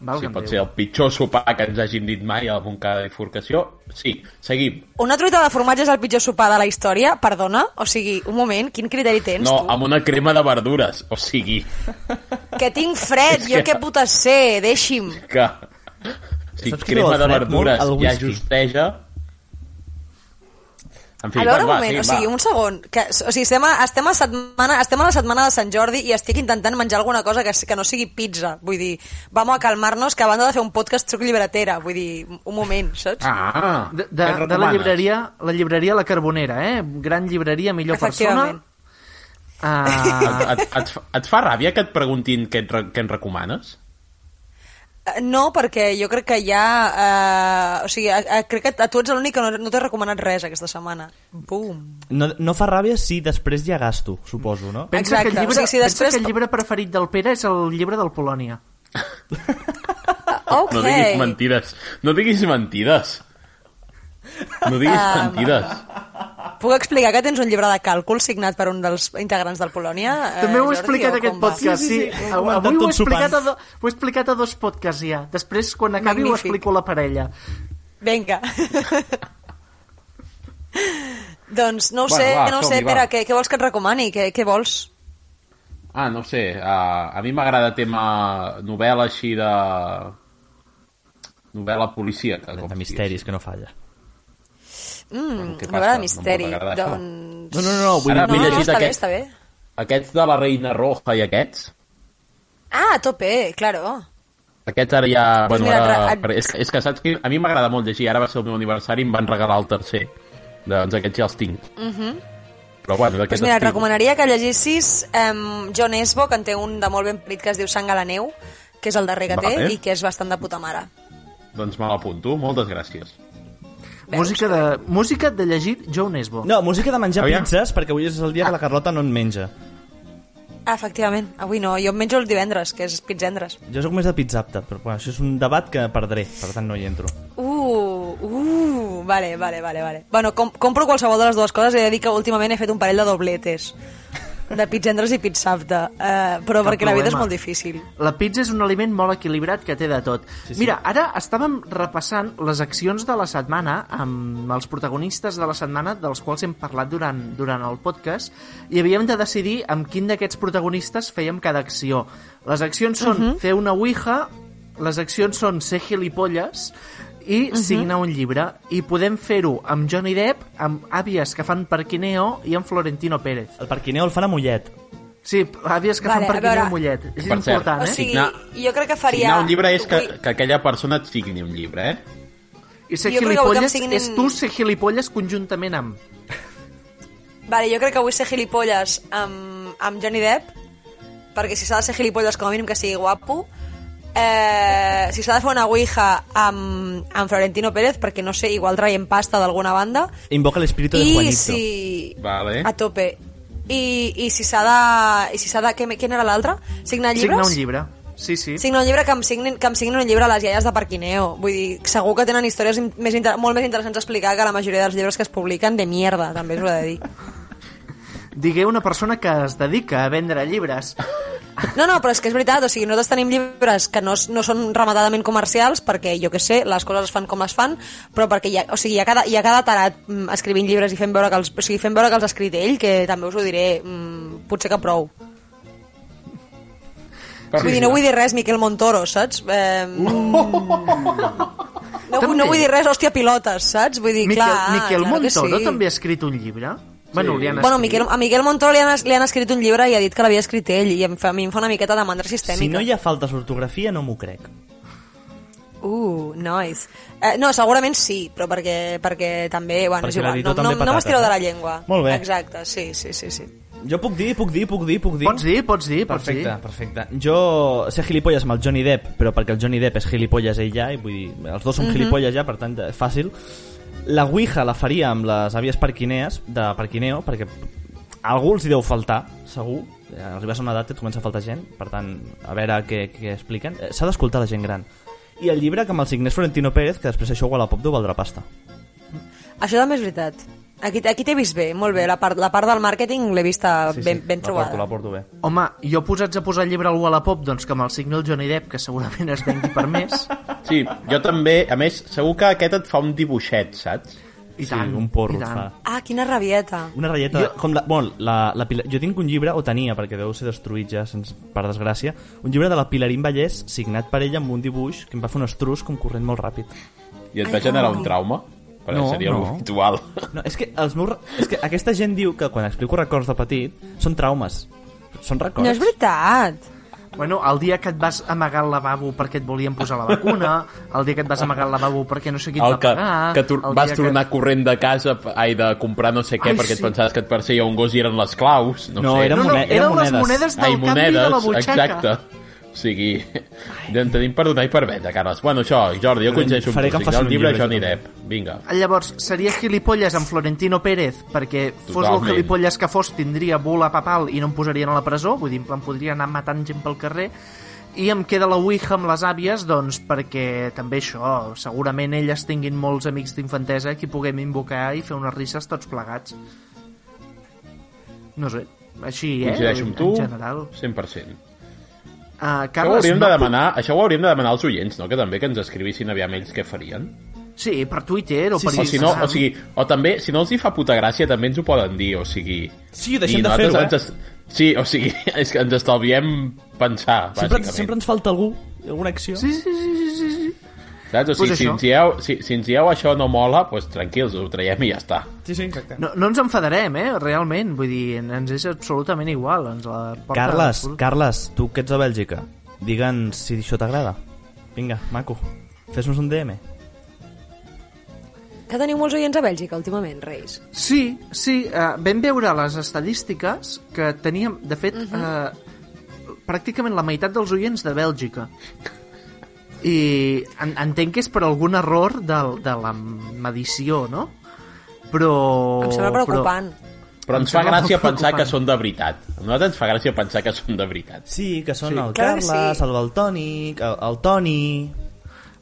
Speaker 3: Si
Speaker 2: Valga'm
Speaker 3: pot ser
Speaker 2: Déu.
Speaker 3: el pitjor sopar que ens hagin dit mai a la Moncada Bifurcació. Sí, seguim.
Speaker 6: Una truita de formatge és el pitjor sopar de la història? Perdona? O sigui, un moment, quin criteri tens,
Speaker 3: No,
Speaker 6: tu?
Speaker 3: amb una crema de verdures. O sigui,
Speaker 6: Que tinc fred,
Speaker 3: És
Speaker 6: jo
Speaker 3: que-
Speaker 6: què puta sé, deixi'm.
Speaker 3: que... Si
Speaker 4: Saps qui
Speaker 3: crema
Speaker 4: beu el
Speaker 3: de
Speaker 4: fred
Speaker 3: verdures
Speaker 4: molt? El
Speaker 3: ja
Speaker 4: whisky.
Speaker 3: justeja...
Speaker 6: a
Speaker 3: En
Speaker 6: veure,
Speaker 3: bueno,
Speaker 6: un moment,
Speaker 3: seguim,
Speaker 6: o sigui, un segon. Que, o sigui, estem, a, estem, a setmana, estem a la setmana de Sant Jordi i estic intentant menjar alguna cosa que, que no sigui pizza. Vull dir, vamos a calmar-nos, que a banda de fer un podcast truc llibretera. Vull dir, un moment, saps?
Speaker 3: Ah,
Speaker 2: De,
Speaker 3: què
Speaker 2: de, de la
Speaker 3: recomanes?
Speaker 2: llibreria, la llibreria La Carbonera, eh? Gran llibreria, millor persona.
Speaker 6: Efectivament.
Speaker 2: Ah,
Speaker 3: Et, et, fa- et fa ràbia que et preguntin què, et, re- què en recomanes?
Speaker 6: Eh, No, perquè jo crec que ja... Eh, o sigui, a, a, crec que a tu ets l'únic que no, no t'he recomanat res aquesta setmana. Bum.
Speaker 4: No, no fa ràbia si després ja gasto, suposo, no?
Speaker 2: pensa
Speaker 6: Exacte,
Speaker 2: que el llibre,
Speaker 6: o sigui, si
Speaker 2: pensa
Speaker 6: després-
Speaker 2: que el llibre preferit del Pere és el llibre del Polònia.
Speaker 6: Ok.
Speaker 3: No diguis
Speaker 6: Ah,
Speaker 3: mentides. No diguis mentides. No diguis mentides.
Speaker 6: puc explicar que tens un llibre de càlcul signat per un dels integrants del Polònia? eh,
Speaker 2: També ho he
Speaker 6: Jordi,
Speaker 2: explicat
Speaker 6: o
Speaker 2: aquest
Speaker 6: com va?
Speaker 2: podcast, sí.
Speaker 4: Sí, sí, sí.
Speaker 2: Avui,
Speaker 4: Ho he
Speaker 2: avui ho, he
Speaker 4: estat tot
Speaker 2: explicat a
Speaker 4: sopant.
Speaker 2: do, ho he explicat a dos podcasts ja. Després, quan acabi, ho
Speaker 6: Magnífic.
Speaker 2: explico a la parella.
Speaker 6: Vinga. doncs no ho sé,
Speaker 3: Bueno, va,
Speaker 6: no ho sé,
Speaker 3: som-hi, va.
Speaker 6: Pere, què, què vols que et recomani? Què, què vols?
Speaker 3: Ah, no ho sé. Uh, a mi m'agrada tema novel·la així de... novel·la policíaca. com
Speaker 4: De
Speaker 3: si
Speaker 4: misteris, que no falla.
Speaker 6: Mm,
Speaker 3: què
Speaker 6: novel·la
Speaker 3: passa?
Speaker 6: de misteri.
Speaker 3: No em pot agradar això.
Speaker 6: doncs...
Speaker 4: No, no, no, vull-
Speaker 3: Ara,
Speaker 6: no,
Speaker 3: vull
Speaker 6: no,
Speaker 3: llegir
Speaker 6: està bé,
Speaker 3: d'aquest.
Speaker 6: està bé.
Speaker 3: Aquests de la Reina Roja i aquests,
Speaker 6: Ah, a tope, claro.
Speaker 3: aquests ara ja...
Speaker 6: Doncs
Speaker 3: Bueno,
Speaker 6: mira,
Speaker 3: ara,
Speaker 6: tra-
Speaker 3: però és, és que saps que a mi m'agrada molt llegir, ara va ser el meu aniversari i em van regalar el tercer. Doncs aquests ja els tinc. Uh -huh. Però bueno,
Speaker 6: Doncs
Speaker 3: d'aquest
Speaker 6: Mhm. mira, et
Speaker 3: estiu.
Speaker 6: recomanaria que llegissis um, John Esbo, que en té un de molt ben petit que es diu Sang a la neu, que és el darrer que té
Speaker 3: Vale.
Speaker 6: i que és bastant de puta mare.
Speaker 3: Doncs me l'apunto, moltes gràcies.
Speaker 6: Veus?
Speaker 2: Música de, música de llegir Joe Nesbo.
Speaker 4: No, música de menjar
Speaker 3: Aviam.
Speaker 4: pizzas, perquè avui és el dia que la Carlota no en menja.
Speaker 6: Ah, efectivament, avui no, jo em menjo el divendres, que és pitzendres.
Speaker 4: Jo sóc més de pizzapta, però bueno, això és un debat que perdré, per tant no hi entro.
Speaker 6: Uh, uh, vale, vale, vale, vale. Bueno, com, compro qualsevol de les dues coses i he de dir que últimament he fet un parell de dobletes de pitzendres i pizzapta, uh, però perquè la vida és
Speaker 2: problema.
Speaker 6: molt difícil.
Speaker 2: La pizza és un aliment molt equilibrat que té de tot. Sí, sí. Mira, ara estàvem repassant les accions de la setmana amb els protagonistes de la setmana dels quals hem parlat durant, durant el podcast i havíem de decidir amb quin d'aquests protagonistes fèiem cada acció. Les accions són
Speaker 6: Mhm.
Speaker 2: uh -huh. fer una ouija, les accions són ser gilipolles
Speaker 6: Mhm.
Speaker 2: i uh -huh. signar un llibre. I podem fer-ho amb Johnny Depp, amb àvies que fan parquineo i amb Florentino Pérez.
Speaker 4: El parquineo el fan a Mollet.
Speaker 2: Sí, àvies que
Speaker 6: Vale,
Speaker 2: fan
Speaker 6: a
Speaker 2: parquineo
Speaker 6: veure.
Speaker 2: a Mollet. És
Speaker 3: Per cert,
Speaker 2: important, eh?
Speaker 6: O sigui,
Speaker 3: Signar-
Speaker 6: jo crec que faria...
Speaker 3: Signar un llibre és que,
Speaker 6: Vull-
Speaker 3: que aquella persona et signi un llibre, eh?
Speaker 2: I ser
Speaker 6: Jo crec que avui que em
Speaker 2: gilipolles,
Speaker 6: signin-
Speaker 2: és tu ser gilipolles conjuntament amb...
Speaker 6: Vale, jo crec que vull ser gilipolles amb, amb Johnny Depp, perquè si s'ha de ser gilipolles com a mínim que sigui guapo, eh, si s'ha de fer una ouija amb, amb Florentino Pérez, perquè no sé, igual traiem pasta d'alguna banda,
Speaker 4: Invoca l'espíritu de
Speaker 6: i
Speaker 4: Juanito.
Speaker 6: si...
Speaker 3: Vale.
Speaker 6: A tope. I, i si s'ha de... I si s'ha de... Què, quin era l'altre? Signar llibres?
Speaker 2: Signar un llibre. Sí, sí. sí.
Speaker 6: Signar un llibre que em, signin, que em signin un llibre a les iaies de Parquineo. Vull dir, segur que tenen històries in- més inter... molt més interessants a explicar que la majoria dels llibres que es publiquen de mierda, també us ho he de dir.
Speaker 2: Digué una persona que es dedica a vendre llibres.
Speaker 6: No, no, però és que és veritat, o sigui, nosaltres tenim llibres que no, s- no són rematadament comercials perquè, jo que sé, les coses es fan com es fan, però perquè hi ha, o sigui, hi ha cada, hi ha cada tarat mm, escrivint llibres i fent veure que els, o sigui, fent veure que els ha escrit ell, que també us ho diré, mm, potser que prou.
Speaker 3: Per
Speaker 6: Vull dir, no vull dir res, Miquel Montoro, saps? Eh, no, vull-
Speaker 2: Uh! També.
Speaker 6: no vull dir res, hòstia, pilotes, saps? Vull dir,
Speaker 2: Miquel,
Speaker 6: clar,
Speaker 2: Miquel
Speaker 6: claro que
Speaker 2: Montoro
Speaker 6: sí.
Speaker 2: també ha escrit un llibre? Bueno, li han
Speaker 6: Bueno,
Speaker 2: escrit.
Speaker 6: Miquel, a Miquel Montoro li han, es- li han escrit un llibre i ha dit que l'havia escrit ell, i em fa, a mi em fa una miqueta de mandra sistèmica.
Speaker 4: Si no hi ha faltes d'ortografia, no m'ho crec.
Speaker 6: Uh, nice. Eh, no, segurament sí, però perquè, perquè també... Bueno,
Speaker 4: Perquè
Speaker 6: és igual.
Speaker 4: l'editor
Speaker 6: no,
Speaker 4: també
Speaker 6: no, no
Speaker 4: patates,
Speaker 6: m'estireu de la
Speaker 4: eh?
Speaker 6: llengua.
Speaker 4: Molt bé.
Speaker 6: Exacte, sí, sí, sí. sí.
Speaker 4: Jo puc dir, puc dir, puc dir, puc dir.
Speaker 2: Pots dir, pots dir, pots
Speaker 4: Perfecte,
Speaker 2: dir.
Speaker 4: perfecte. Jo ser gilipolles amb el Johnny Depp, però perquè el Johnny Depp és gilipolles ell ja, i vull dir, els dos som gilipolles ja, per tant, eh, fàcil. La Ouija la faria amb les àvies parquinees, de Parquineo, perquè a algú els hi deu faltar, segur. Eh, Arribes a una edat que et comença a faltar gent, per tant, a veure què, què expliquen. Eh, S'ha d'escoltar la gent gran. I el llibre que amb el signés Florentino Pérez, que després això Wallapop deu valdrà pasta.
Speaker 6: Això també és veritat. Aquí, aquí t'he vist bé, molt bé. La part, la part del màrqueting l'he vista sí, ben, ben
Speaker 4: la porto, la
Speaker 6: trobada.
Speaker 4: porto bé.
Speaker 2: Home, jo posats a posar el llibre al Wallapop, doncs que me'l signi el Johnny Depp, que segurament es vengui per més.
Speaker 3: Sí, jo també. A més, segur que aquest et fa un dibuixet, saps?
Speaker 2: I
Speaker 4: sí,
Speaker 2: tant,
Speaker 4: un porro
Speaker 2: i tant.
Speaker 4: fa.
Speaker 6: Ah, quina rabieta.
Speaker 4: Una ratlleta... Jo... Com la, bueno, la, la, Pilar- jo tinc un llibre, o tenia, perquè deu ser destruït ja, sense, per desgràcia, un llibre de la Pilarín Vallès, signat per ella amb un dibuix que em va fer un estrus com corrent molt ràpid.
Speaker 3: I et
Speaker 6: Ai,
Speaker 3: va generar
Speaker 6: no.
Speaker 3: un trauma? Però
Speaker 4: No,
Speaker 3: seria
Speaker 4: no.
Speaker 3: no. habitual.
Speaker 4: No, és que, els meus, re- és que aquesta gent diu que quan explico records de petit són traumes. Són records.
Speaker 6: No és veritat.
Speaker 2: Bueno, el dia que et vas amagar al lavabo perquè et volien posar la vacuna, el dia que et vas amagar al lavabo perquè no sé qui et
Speaker 3: El
Speaker 2: va
Speaker 3: que,
Speaker 2: pagar...
Speaker 3: que tor
Speaker 2: el
Speaker 3: vas
Speaker 2: dia
Speaker 3: tornar que... corrent de casa, ai, de comprar no sé què,
Speaker 2: Ai,
Speaker 3: perquè
Speaker 2: sí.
Speaker 3: et pensaves que et perseguia un gos i eren les claus. No,
Speaker 4: No,
Speaker 3: sé.
Speaker 4: eren
Speaker 2: No, no,
Speaker 4: Moned-
Speaker 2: eren,
Speaker 4: eren
Speaker 2: les
Speaker 4: monedes.
Speaker 2: monedes del
Speaker 3: Ai,
Speaker 2: canvi de la
Speaker 3: monedes,
Speaker 2: butxaca.
Speaker 3: exacte. O sigui, ja en tenim per donar i per vendre, Carles. Bueno, això, Jordi, jo coincideixo amb
Speaker 4: Faré
Speaker 3: tu.
Speaker 4: que em
Speaker 3: Signar
Speaker 4: faci
Speaker 3: el
Speaker 4: un
Speaker 3: llibre,
Speaker 4: llibre, eh?
Speaker 3: Johnny
Speaker 4: jo també.
Speaker 3: Depp. Vinga.
Speaker 2: Llavors, seria gilipolles amb Florentino Pérez, perquè fos el
Speaker 3: Totalment.
Speaker 2: gilipolles que fos tindria bula papal i no em posarien a la presó, vull dir, en plan, podria anar matant gent pel carrer, i em queda la Ouija amb les àvies doncs perquè també això segurament elles tinguin molts amics d'infantesa que puguem invocar i fer unes risses tots plegats no sé, així eh?
Speaker 3: Coincideixo
Speaker 2: en,
Speaker 3: amb tu,
Speaker 2: en general
Speaker 3: 100%.
Speaker 2: uh,
Speaker 3: Això ho,
Speaker 2: Carles,
Speaker 3: hauríem
Speaker 2: no
Speaker 3: de demanar, això ho hauríem de demanar als oients, no? Que també que ens escrivissin aviam ells què farien.
Speaker 2: sí, per Twitter o per
Speaker 3: o, si no,
Speaker 2: Instagram
Speaker 3: o, sigui, o també, si no els hi fa puta gràcia, també ens ho poden dir, o sigui...
Speaker 4: Sí, deixem
Speaker 3: i
Speaker 4: de
Speaker 3: nosaltres
Speaker 4: fer-ho, eh?
Speaker 3: ens es- Sí, o sigui, és que ens estalviem pensar,
Speaker 4: Sempre,
Speaker 3: bàsicament.
Speaker 4: sempre ens falta algú, alguna acció.
Speaker 2: sí, sí, sí, sí, sí, sí.
Speaker 3: Saps? O sigui,
Speaker 2: Pues
Speaker 3: si,
Speaker 2: això.
Speaker 3: ens dieu, si, si ens dieu això no mola, doncs tranquils, ho traiem i ja està.
Speaker 4: sí, sí exacte.
Speaker 2: No, no ens enfadarem, eh, realment. Vull dir, ens és absolutament igual. Ens la porta
Speaker 4: Carles,
Speaker 2: absolut-
Speaker 4: Carles, tu que ets a Bèlgica, digue'ns si això t'agrada. Vinga, maco, fes-nos un DM.
Speaker 6: Que teniu molts oients a Bèlgica últimament, Reis.
Speaker 2: Sí, sí, eh, vam veure les estadístiques que teníem, de fet,
Speaker 6: Mhm.
Speaker 2: eh, pràcticament la meitat dels oients de Bèlgica. I en, entenc que és per algun error del, de la medició, no? Però...
Speaker 4: Oh,
Speaker 6: Em sembla preocupant.
Speaker 3: Però
Speaker 2: Em
Speaker 3: ens fa
Speaker 2: sembla molt
Speaker 3: gràcia pensar que
Speaker 2: preocupant.
Speaker 3: són de veritat. A nosaltres ens fa gràcia pensar que són de veritat.
Speaker 4: Sí, que són sí, el
Speaker 6: clar que
Speaker 4: Carles,
Speaker 6: sí.
Speaker 4: el Baltònic, el, el Toni...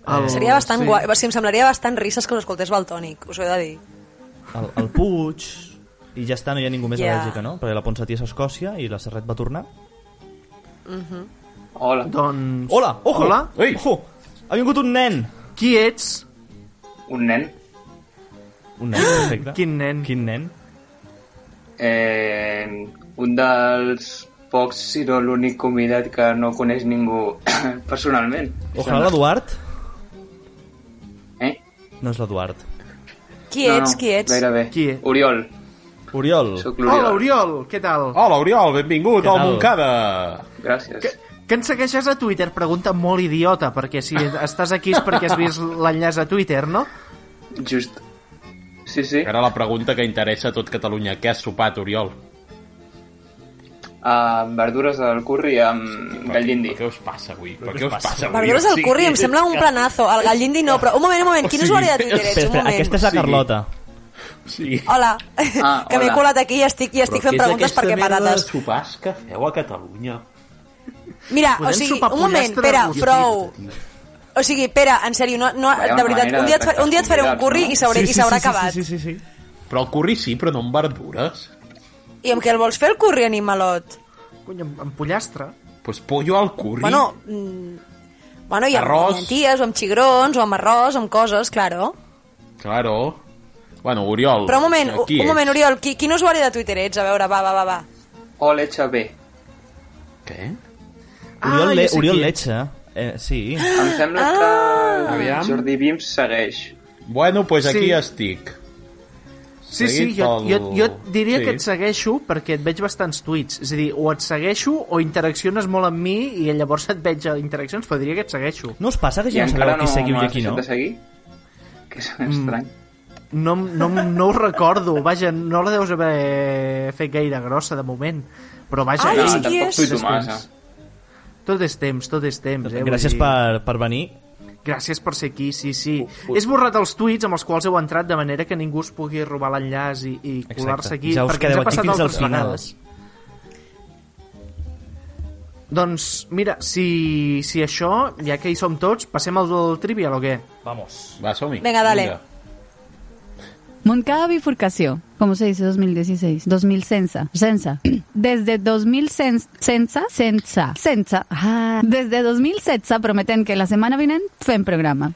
Speaker 2: Però el-
Speaker 6: Seria bastant guai. O sigui, em semblaria bastant risses que us escoltés Baltònic, us ho he de dir.
Speaker 4: el, el Puig i ja està, no hi ha ningú més yeah.
Speaker 6: Ja.
Speaker 4: a Bèlgica, no? Perquè la Ponsatí és a Escòcia i la Serret va tornar.
Speaker 8: Hola,
Speaker 2: Doncs...
Speaker 4: Hola! Ojo!
Speaker 2: Hola!
Speaker 3: Ui!
Speaker 4: Ojo! Ha vingut un nen!
Speaker 2: Qui ets?
Speaker 8: un nen.
Speaker 4: Un nen, perfecte.
Speaker 2: Quin nen?
Speaker 4: Quin nen?
Speaker 8: Eh, un dels pocs, si no l'únic convidat que no coneix ningú personalment.
Speaker 4: Ojalà l'Eduard.
Speaker 8: Eh?
Speaker 4: No és l'Eduard.
Speaker 6: Qui ets, qui ets?
Speaker 8: Gairebé.
Speaker 2: Qui ets?
Speaker 8: Oriol.
Speaker 4: Oriol.
Speaker 8: Soc l'Oriol.
Speaker 2: Hola, Oriol, què tal?
Speaker 3: Hola, Oriol, benvingut
Speaker 4: Què
Speaker 3: al
Speaker 4: tal?
Speaker 3: Montcada!
Speaker 8: Gràcies.
Speaker 2: Que, que ens segueixes a Twitter? Pregunta molt idiota, perquè si estàs aquí és perquè has vist l'enllaç a Twitter, no?
Speaker 8: Just. Sí, sí.
Speaker 3: Ara la pregunta que interessa a tot Catalunya, què has sopat, Oriol?
Speaker 8: Amb verdures al curri amb gall
Speaker 3: Per
Speaker 8: d'indi.
Speaker 3: què us passa avui? Per què us passa avui?
Speaker 6: Verdures
Speaker 3: O
Speaker 6: al
Speaker 3: sigui,
Speaker 6: curri, em sembla un planazo. El gall d'indi no, però... Un moment, un moment. Quin
Speaker 3: sigui,
Speaker 6: usuari de Twitter eh,
Speaker 4: Espera,
Speaker 6: ets? Un
Speaker 4: espera,
Speaker 6: moment.
Speaker 4: aquesta és la
Speaker 3: Sí.
Speaker 4: Carlota.
Speaker 3: O sigui,
Speaker 6: Hola.
Speaker 8: Ah,
Speaker 6: que m'he
Speaker 8: hola.
Speaker 6: colat aquí i estic, i estic
Speaker 3: però
Speaker 6: fent
Speaker 3: què
Speaker 6: preguntes
Speaker 3: és aquesta
Speaker 6: perquè
Speaker 3: merda
Speaker 6: patates.
Speaker 3: de sopars que feu a Catalunya?
Speaker 6: Mira, o
Speaker 2: Podem
Speaker 6: sigui,
Speaker 2: sopar
Speaker 6: un moment,
Speaker 2: pollastre
Speaker 6: Pere,
Speaker 2: rostit.
Speaker 6: prou. O sigui, Pere, en sèrio, no, no,
Speaker 8: Vaya
Speaker 6: de veritat,
Speaker 8: manera
Speaker 6: un
Speaker 8: de
Speaker 6: dia et, fa- un dia et faré un
Speaker 8: tractar
Speaker 6: curri
Speaker 8: convidats,
Speaker 6: i s'haurà i s'haurà acabat.
Speaker 4: Sí, sí, sí, sí.
Speaker 3: Però el curri sí, però no amb verdures.
Speaker 6: I amb què el vols fer, el curri, animalot?
Speaker 2: Cony, amb, amb pollastre.
Speaker 3: Doncs pues pollo al curri.
Speaker 6: Bueno, mm, bueno, i amb
Speaker 3: Arròs.
Speaker 6: llenties, o amb xigrons, o amb arròs, amb coses, claro.
Speaker 3: Claro. Bueno,
Speaker 8: Oh,
Speaker 3: Oriol...
Speaker 6: Però un moment, un,
Speaker 8: eh?
Speaker 3: qui
Speaker 6: un moment,
Speaker 3: ets?
Speaker 6: Oriol, qui, quin usuari de Twitter ets? A veure, va, va, va, va.
Speaker 8: Hola, HB.
Speaker 3: Què?
Speaker 4: Oriol,
Speaker 6: Ah,
Speaker 2: ja
Speaker 4: Le
Speaker 2: sé qui
Speaker 4: Oriol
Speaker 2: ets.
Speaker 4: Letxa. Eh, sí.
Speaker 8: Em sembla que
Speaker 3: Aviam.
Speaker 8: Jordi Vims segueix.
Speaker 3: Bueno, doncs pues aquí
Speaker 2: Sí.
Speaker 3: estic.
Speaker 2: Sí, sí,
Speaker 3: Seguit
Speaker 2: jo,
Speaker 3: pel-
Speaker 2: jo, jo et diria
Speaker 3: Sí.
Speaker 2: que et segueixo perquè et veig bastants tuits. És a dir, o et segueixo o interacciones molt amb mi i llavors et veig a interaccions, però diria que et segueixo.
Speaker 4: No us passa que
Speaker 8: I
Speaker 4: ja no
Speaker 8: encara
Speaker 4: sabeu
Speaker 8: no
Speaker 4: qui seguiu i
Speaker 8: m'has
Speaker 4: qui no? Mm.
Speaker 8: deixat de seguir? Que és estrany.
Speaker 2: No, em- no, em- no ho recordo, vaja, no la deus haver fet gaire grossa de moment. Però vaja, eh,
Speaker 6: Ai,
Speaker 8: No,
Speaker 2: és-
Speaker 6: sí, qui
Speaker 8: tampoc
Speaker 6: és?
Speaker 8: tuito
Speaker 3: eh?
Speaker 8: massa.
Speaker 2: tot és temps, tot és temps. Eh? vull
Speaker 4: Gràcies
Speaker 2: dir-
Speaker 4: per, per venir.
Speaker 2: Gràcies per ser aquí, sí, sí. He esborrat els tuits amb els quals heu entrat de manera que ningú us pugui robar l'enllaç i, i colar-se aquí,
Speaker 4: ja us
Speaker 2: perquè ens
Speaker 4: quedeu
Speaker 2: ha
Speaker 4: aquí
Speaker 2: passat
Speaker 4: fins al
Speaker 2: altres
Speaker 4: final.
Speaker 2: vegades. Doncs, mira, si, si això, ja que hi som tots, passem al del trivial o què?
Speaker 4: Vamos.
Speaker 3: Va, som-hi.
Speaker 6: Vinga, dale.
Speaker 5: Moncada bifurcació, como se dice 2016, 2000 censa, censa. Desde 2000 cens- censa, censa, censa. Ah, Desde 2000 censa prometen que la semana vinent fem programa.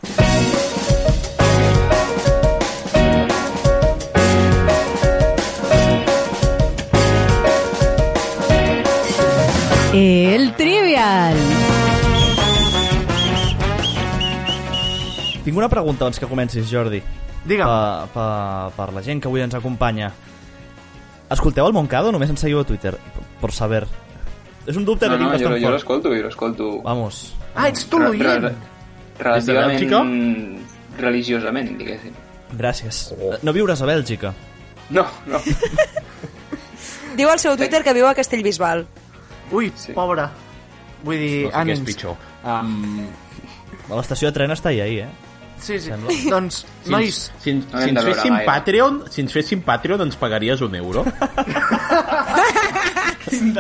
Speaker 5: El trivial.
Speaker 4: Tinc una pregunta abans que comencis, Jordi.
Speaker 2: Digue'm.
Speaker 4: Per, per, per la gent que avui ens acompanya. Escolteu el Moncada o només ens seguiu a Twitter? Per saber. És un dubte
Speaker 8: No,
Speaker 4: que tinc
Speaker 8: no, jo,
Speaker 4: bastant
Speaker 8: jo
Speaker 4: fort.
Speaker 8: l'escolto, jo l'escolto.
Speaker 4: Vamos.
Speaker 2: Ah, ets tu,
Speaker 8: Re-
Speaker 2: l'oient!
Speaker 8: re- Relativament...
Speaker 3: Bèlgica?
Speaker 8: Religiosament, diguéssim.
Speaker 4: Gràcies.
Speaker 8: Oh.
Speaker 4: No viures a Bèlgica.
Speaker 8: No, no.
Speaker 6: Diu al seu Twitter que viu a Castellbisbal.
Speaker 2: Ui,
Speaker 8: Sí.
Speaker 2: pobre. Vull dir,
Speaker 3: No sé què és
Speaker 2: Eh, ànims.
Speaker 3: pitjor. Um,
Speaker 4: A l'estació de tren està ahí, ahí, eh?
Speaker 2: Sí, sí. Doncs,
Speaker 3: si,
Speaker 2: nois,
Speaker 3: ens, si, ens-
Speaker 8: No hem
Speaker 3: si ens
Speaker 8: de veure
Speaker 3: féssim
Speaker 8: gaire.
Speaker 3: Patreon, si ens féssim Patreon ens pagaries un euro.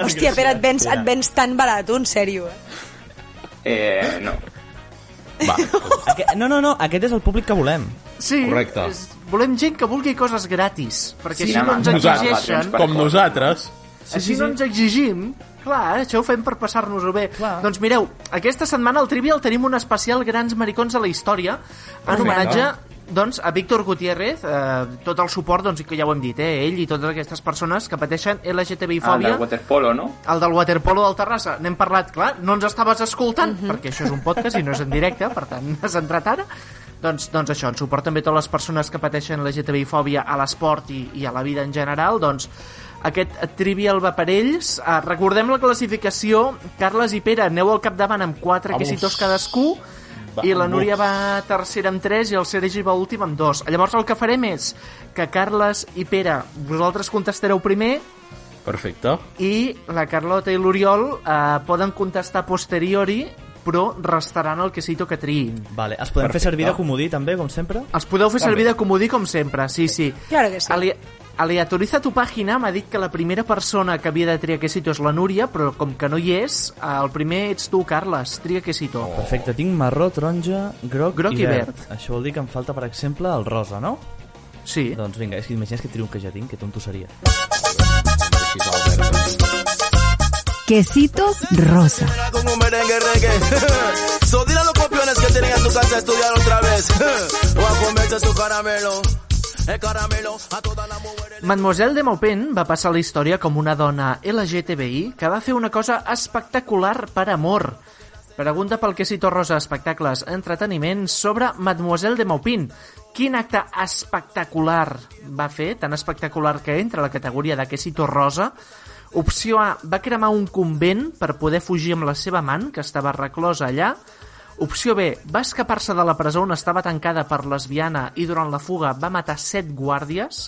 Speaker 6: Hòstia, Pere, et vens, et vens tan barat, tu, en sèrio. Eh?
Speaker 8: Eh, no.
Speaker 3: Va,
Speaker 2: Oh.
Speaker 4: Aque no, no, no, aquest és el públic que volem.
Speaker 2: Sí,
Speaker 3: Correcte.
Speaker 2: És, volem gent que vulgui coses gratis,
Speaker 8: Sí,
Speaker 2: perquè així no
Speaker 8: home,
Speaker 2: ens
Speaker 8: nosaltres,
Speaker 2: exigeixen,
Speaker 3: com nosaltres,
Speaker 2: així no ens exigim, clar, eh, això ho fem per passar-nos-ho bé.
Speaker 4: Clar.
Speaker 2: Doncs mireu, aquesta setmana al Trivial tenim un especial Grans Maricons de la Història, en homenatge doncs, a Víctor Gutiérrez, eh, tot el suport, doncs, que ja ho hem dit, eh, ell i totes aquestes persones que pateixen
Speaker 8: Ah, el
Speaker 2: LGTBI-fòbia,
Speaker 8: del waterpolo, no?
Speaker 2: el del waterpolo del Terrassa, n'hem parlat, clar, no ens estaves escoltant, perquè això és un podcast i no és en directe, per tant, has entrat ara. Doncs, doncs això, en suport també a totes les persones que pateixen la LGTBI-fòbia a l'esport i, i a la vida en general, doncs aquest Trivial va per ells. Eh, recordem la classificació, Carles i Pere aneu al capdavant amb 4
Speaker 3: Vamos.
Speaker 2: quesitos cadascú, i la
Speaker 3: Vamos.
Speaker 2: Núria va tercera amb 3 i el Sergi va últim amb 2. Llavors el que farem és que Carles i Pere, vosaltres contestareu primer,
Speaker 3: perfecte.
Speaker 2: i la Carlota i l'Oriol eh, poden contestar a posteriori però restaran el quesito que triïn.
Speaker 4: Vale, es podem fer servir de comodí també, com sempre?
Speaker 2: Els podeu fer servir de comodí com sempre, sí, sí.
Speaker 6: Claro que sí.
Speaker 2: Ale Aleatoriza tu pàgina m'ha dit que la primera persona que havia de triar quesito és la Núria, però com que no hi és, eh, el primer ets tu, Carles, tria quesito. Oh.
Speaker 4: Perfecte, tinc marró, taronja, groc,
Speaker 2: Groc
Speaker 4: i,
Speaker 2: i
Speaker 4: verd.
Speaker 2: verd.
Speaker 4: Això vol dir que em falta, per exemple, el rosa, no?
Speaker 2: Sí.
Speaker 4: Doncs vinga, és que imagines que triomf que ja tinc, que tonto seria.
Speaker 5: Quesitos rosa.
Speaker 9: Con un merengue reggae. So dile a los copiones que tienen en su casa a estudiar otra vez. O a comerse su caramelo. El caramelo a toda la mujer.
Speaker 2: Mademoiselle de Maupin va passar la història com una dona LGTBI que va fer una cosa espectacular per amor. Pregunta pel que cito Rosa Espectacles Entreteniment sobre Mademoiselle de Maupin. Quin acte espectacular va fer, tan espectacular que entra a la categoria de Quesito Rosa? Opció A, va cremar un convent per poder fugir amb la seva amant, que estava reclosa allà. Opció B, va escapar-se de la presó on estava tancada per lesbiana i durant la fuga va matar set guàrdies.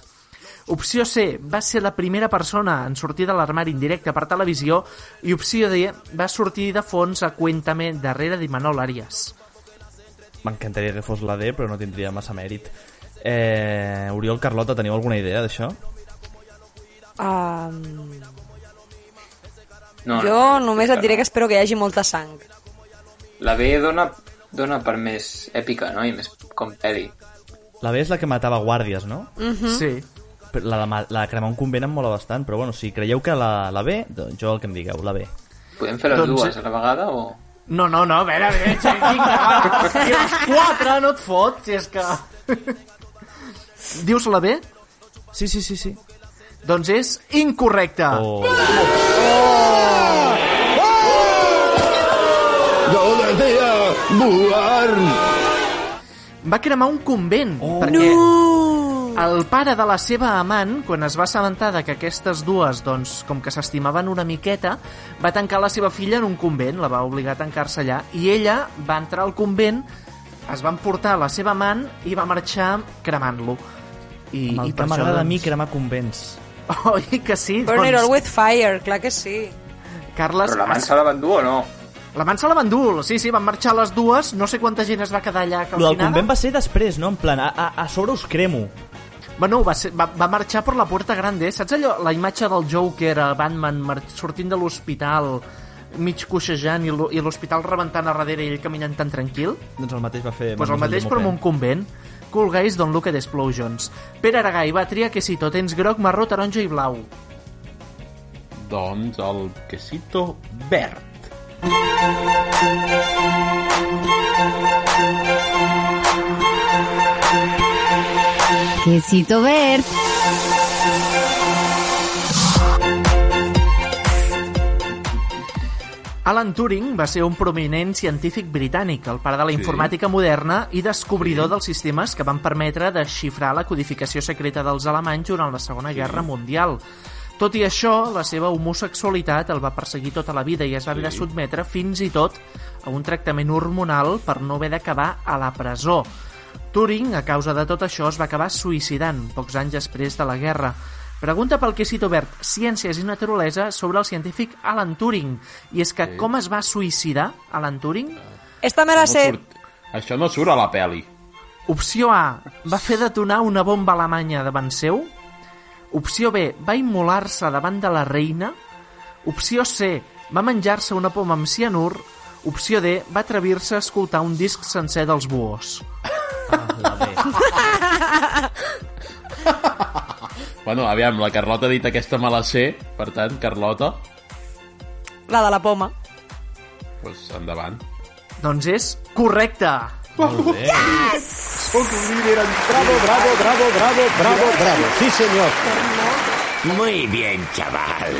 Speaker 2: Opció C, va ser la primera persona en sortir de l'armari en directe per televisió i opció D, va sortir de fons a Cuéntame darrere d'Imanol Arias.
Speaker 4: M'encantaria que fos la D, però no tindria massa mèrit. Eh, Oriol, Carlota, teniu alguna idea d'això?
Speaker 6: Um,
Speaker 8: no
Speaker 6: jo
Speaker 8: no,
Speaker 6: només et diré
Speaker 8: no.
Speaker 6: que espero que hi hagi molta sang.
Speaker 8: La B dona, dona per més èpica, no? I més com peli.
Speaker 4: La B és la que matava guàrdies, no?
Speaker 2: Mm -hmm. Sí.
Speaker 4: Però La, de, ma- la de cremar un convent em mola bastant, però bueno, si creieu que la, la B, doncs jo el que em digueu, la B.
Speaker 8: Podem fer les
Speaker 2: Doncs-
Speaker 8: dues a la vegada o...?
Speaker 2: No, no, no, a veure, a veure, xinga, si els quatre no et fot, si és que... Dius la B?
Speaker 4: Sí, sí, sí, sí.
Speaker 2: Doncs és incorrecte.
Speaker 4: O...
Speaker 2: Va cremar un convent, oh. perquè... No! El pare de la seva amant, quan es va assabentar de que aquestes dues, doncs, com que s'estimaven una miqueta, va tancar la seva filla en un convent, la va obligar a tancar-se allà, i ella va entrar al convent, es va emportar la seva amant i va marxar cremant-lo. I,
Speaker 4: Amb
Speaker 2: i
Speaker 4: el
Speaker 2: per
Speaker 4: que
Speaker 2: això,
Speaker 4: m'agrada a
Speaker 2: doncs-
Speaker 4: mi cremar convents.
Speaker 2: Oi que sí?
Speaker 6: Burn it all
Speaker 2: Doncs,
Speaker 6: with fire, clar que sí.
Speaker 2: Carles,
Speaker 8: Però la mansa la van dur o no?
Speaker 2: la man se la van dur, sí, sí, van marxar les dues, no sé quanta gent es va quedar
Speaker 4: Lo
Speaker 2: allà
Speaker 4: del
Speaker 2: calcinada.
Speaker 4: convent va ser després, no? En plan, a, a, a sobre us cremo.
Speaker 2: Bueno, va, ser, va, va marxar per la Puerta Grande, eh? saps allò, la imatge del Joker a Batman mar sortint de l'hospital mig coixejant i l'ho- i l'hospital rebentant a darrere i ell caminant tan tranquil? Doncs
Speaker 4: Doncs el mateix va fer...
Speaker 2: pues el
Speaker 4: Mademoiselle
Speaker 2: mateix però
Speaker 4: Maupin.
Speaker 2: amb un convent. Cool guys don't look at explosions. Pere Aragai va triar que si tot tens groc, marró, taronja i blau.
Speaker 3: Doncs el quesito verd.
Speaker 5: Quesito verd.
Speaker 2: Alan Turing va ser un prominent científic britànic, el pare de la
Speaker 3: Sí.
Speaker 2: informàtica moderna i descobridor dels sistemes que van permetre desxifrar la codificació secreta dels alemanys durant la Segona Guerra Mundial. Tot i això, la seva homosexualitat el va perseguir tota la vida i es va haver de sotmetre fins i tot a un tractament hormonal per no haver d'acabar a la presó. Turing, a causa de tot això, es va acabar suïcidant pocs anys després de la guerra. Pregunta pel quesito verd Ciències i Naturalesa sobre el científic Alan Turing. I és que com es va suïcidar Alan Turing?
Speaker 6: Esta me la sé.
Speaker 3: Surt... Això no surt a la peli.
Speaker 2: Opció A. Va fer detonar una bomba alemanya davant seu. Opció B. Va immolar-se davant de la reina. Opció C. Va menjar-se una poma amb cianur. Opció D, va atrevir-se a escoltar un disc sencer dels buhos.
Speaker 3: Bueno, aviam, la Carlota ha dit aquesta me la sé, per tant, Carlota,
Speaker 6: La de la poma.
Speaker 3: doncs endavant.
Speaker 2: Doncs és correcte!
Speaker 10: Bravo, bravo. Sí, señor.
Speaker 11: Muy bien, chaval.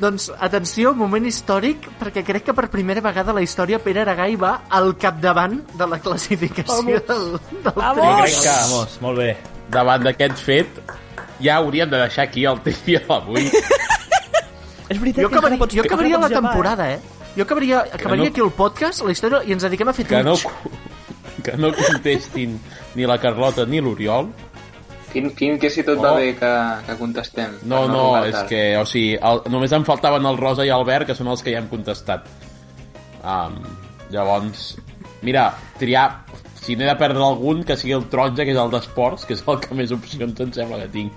Speaker 2: Doncs, atenció, moment històric, perquè crec que per primera vegada a la història Pere Aragai va al capdavant de la classificació del, del
Speaker 3: Jo
Speaker 6: Vamos!
Speaker 3: crec que,
Speaker 4: Vamos, Ah, molt bé.
Speaker 3: davant d'aquest fet, ja hauríem de deixar aquí el trivia d'avui.
Speaker 4: És veritat
Speaker 2: Jo acabaria,
Speaker 4: encara pots-
Speaker 2: jo acabaria la
Speaker 4: encara pots
Speaker 2: temporada, eh? Jo acabaria, acabaria
Speaker 3: no-
Speaker 2: aquí el podcast, la història, i ens dediquem a fer
Speaker 3: Que no,
Speaker 2: Twitch.
Speaker 3: que no contestin ni la Carlota ni l'Oriol.
Speaker 8: Quin, quin que si tot
Speaker 3: Oh.
Speaker 8: va bé que, que contestem.
Speaker 3: No,
Speaker 8: Per
Speaker 3: no,
Speaker 8: arribar
Speaker 3: és
Speaker 8: tard.
Speaker 3: que, o sigui, el, només em faltaven el Rosa i el Albert, que són els que ja hem contestat. Um, llavors, mira, triar, si n'he de perdre algun, que sigui el taronja, que és el d'esports, que és el que més opcions em sembla que tinc.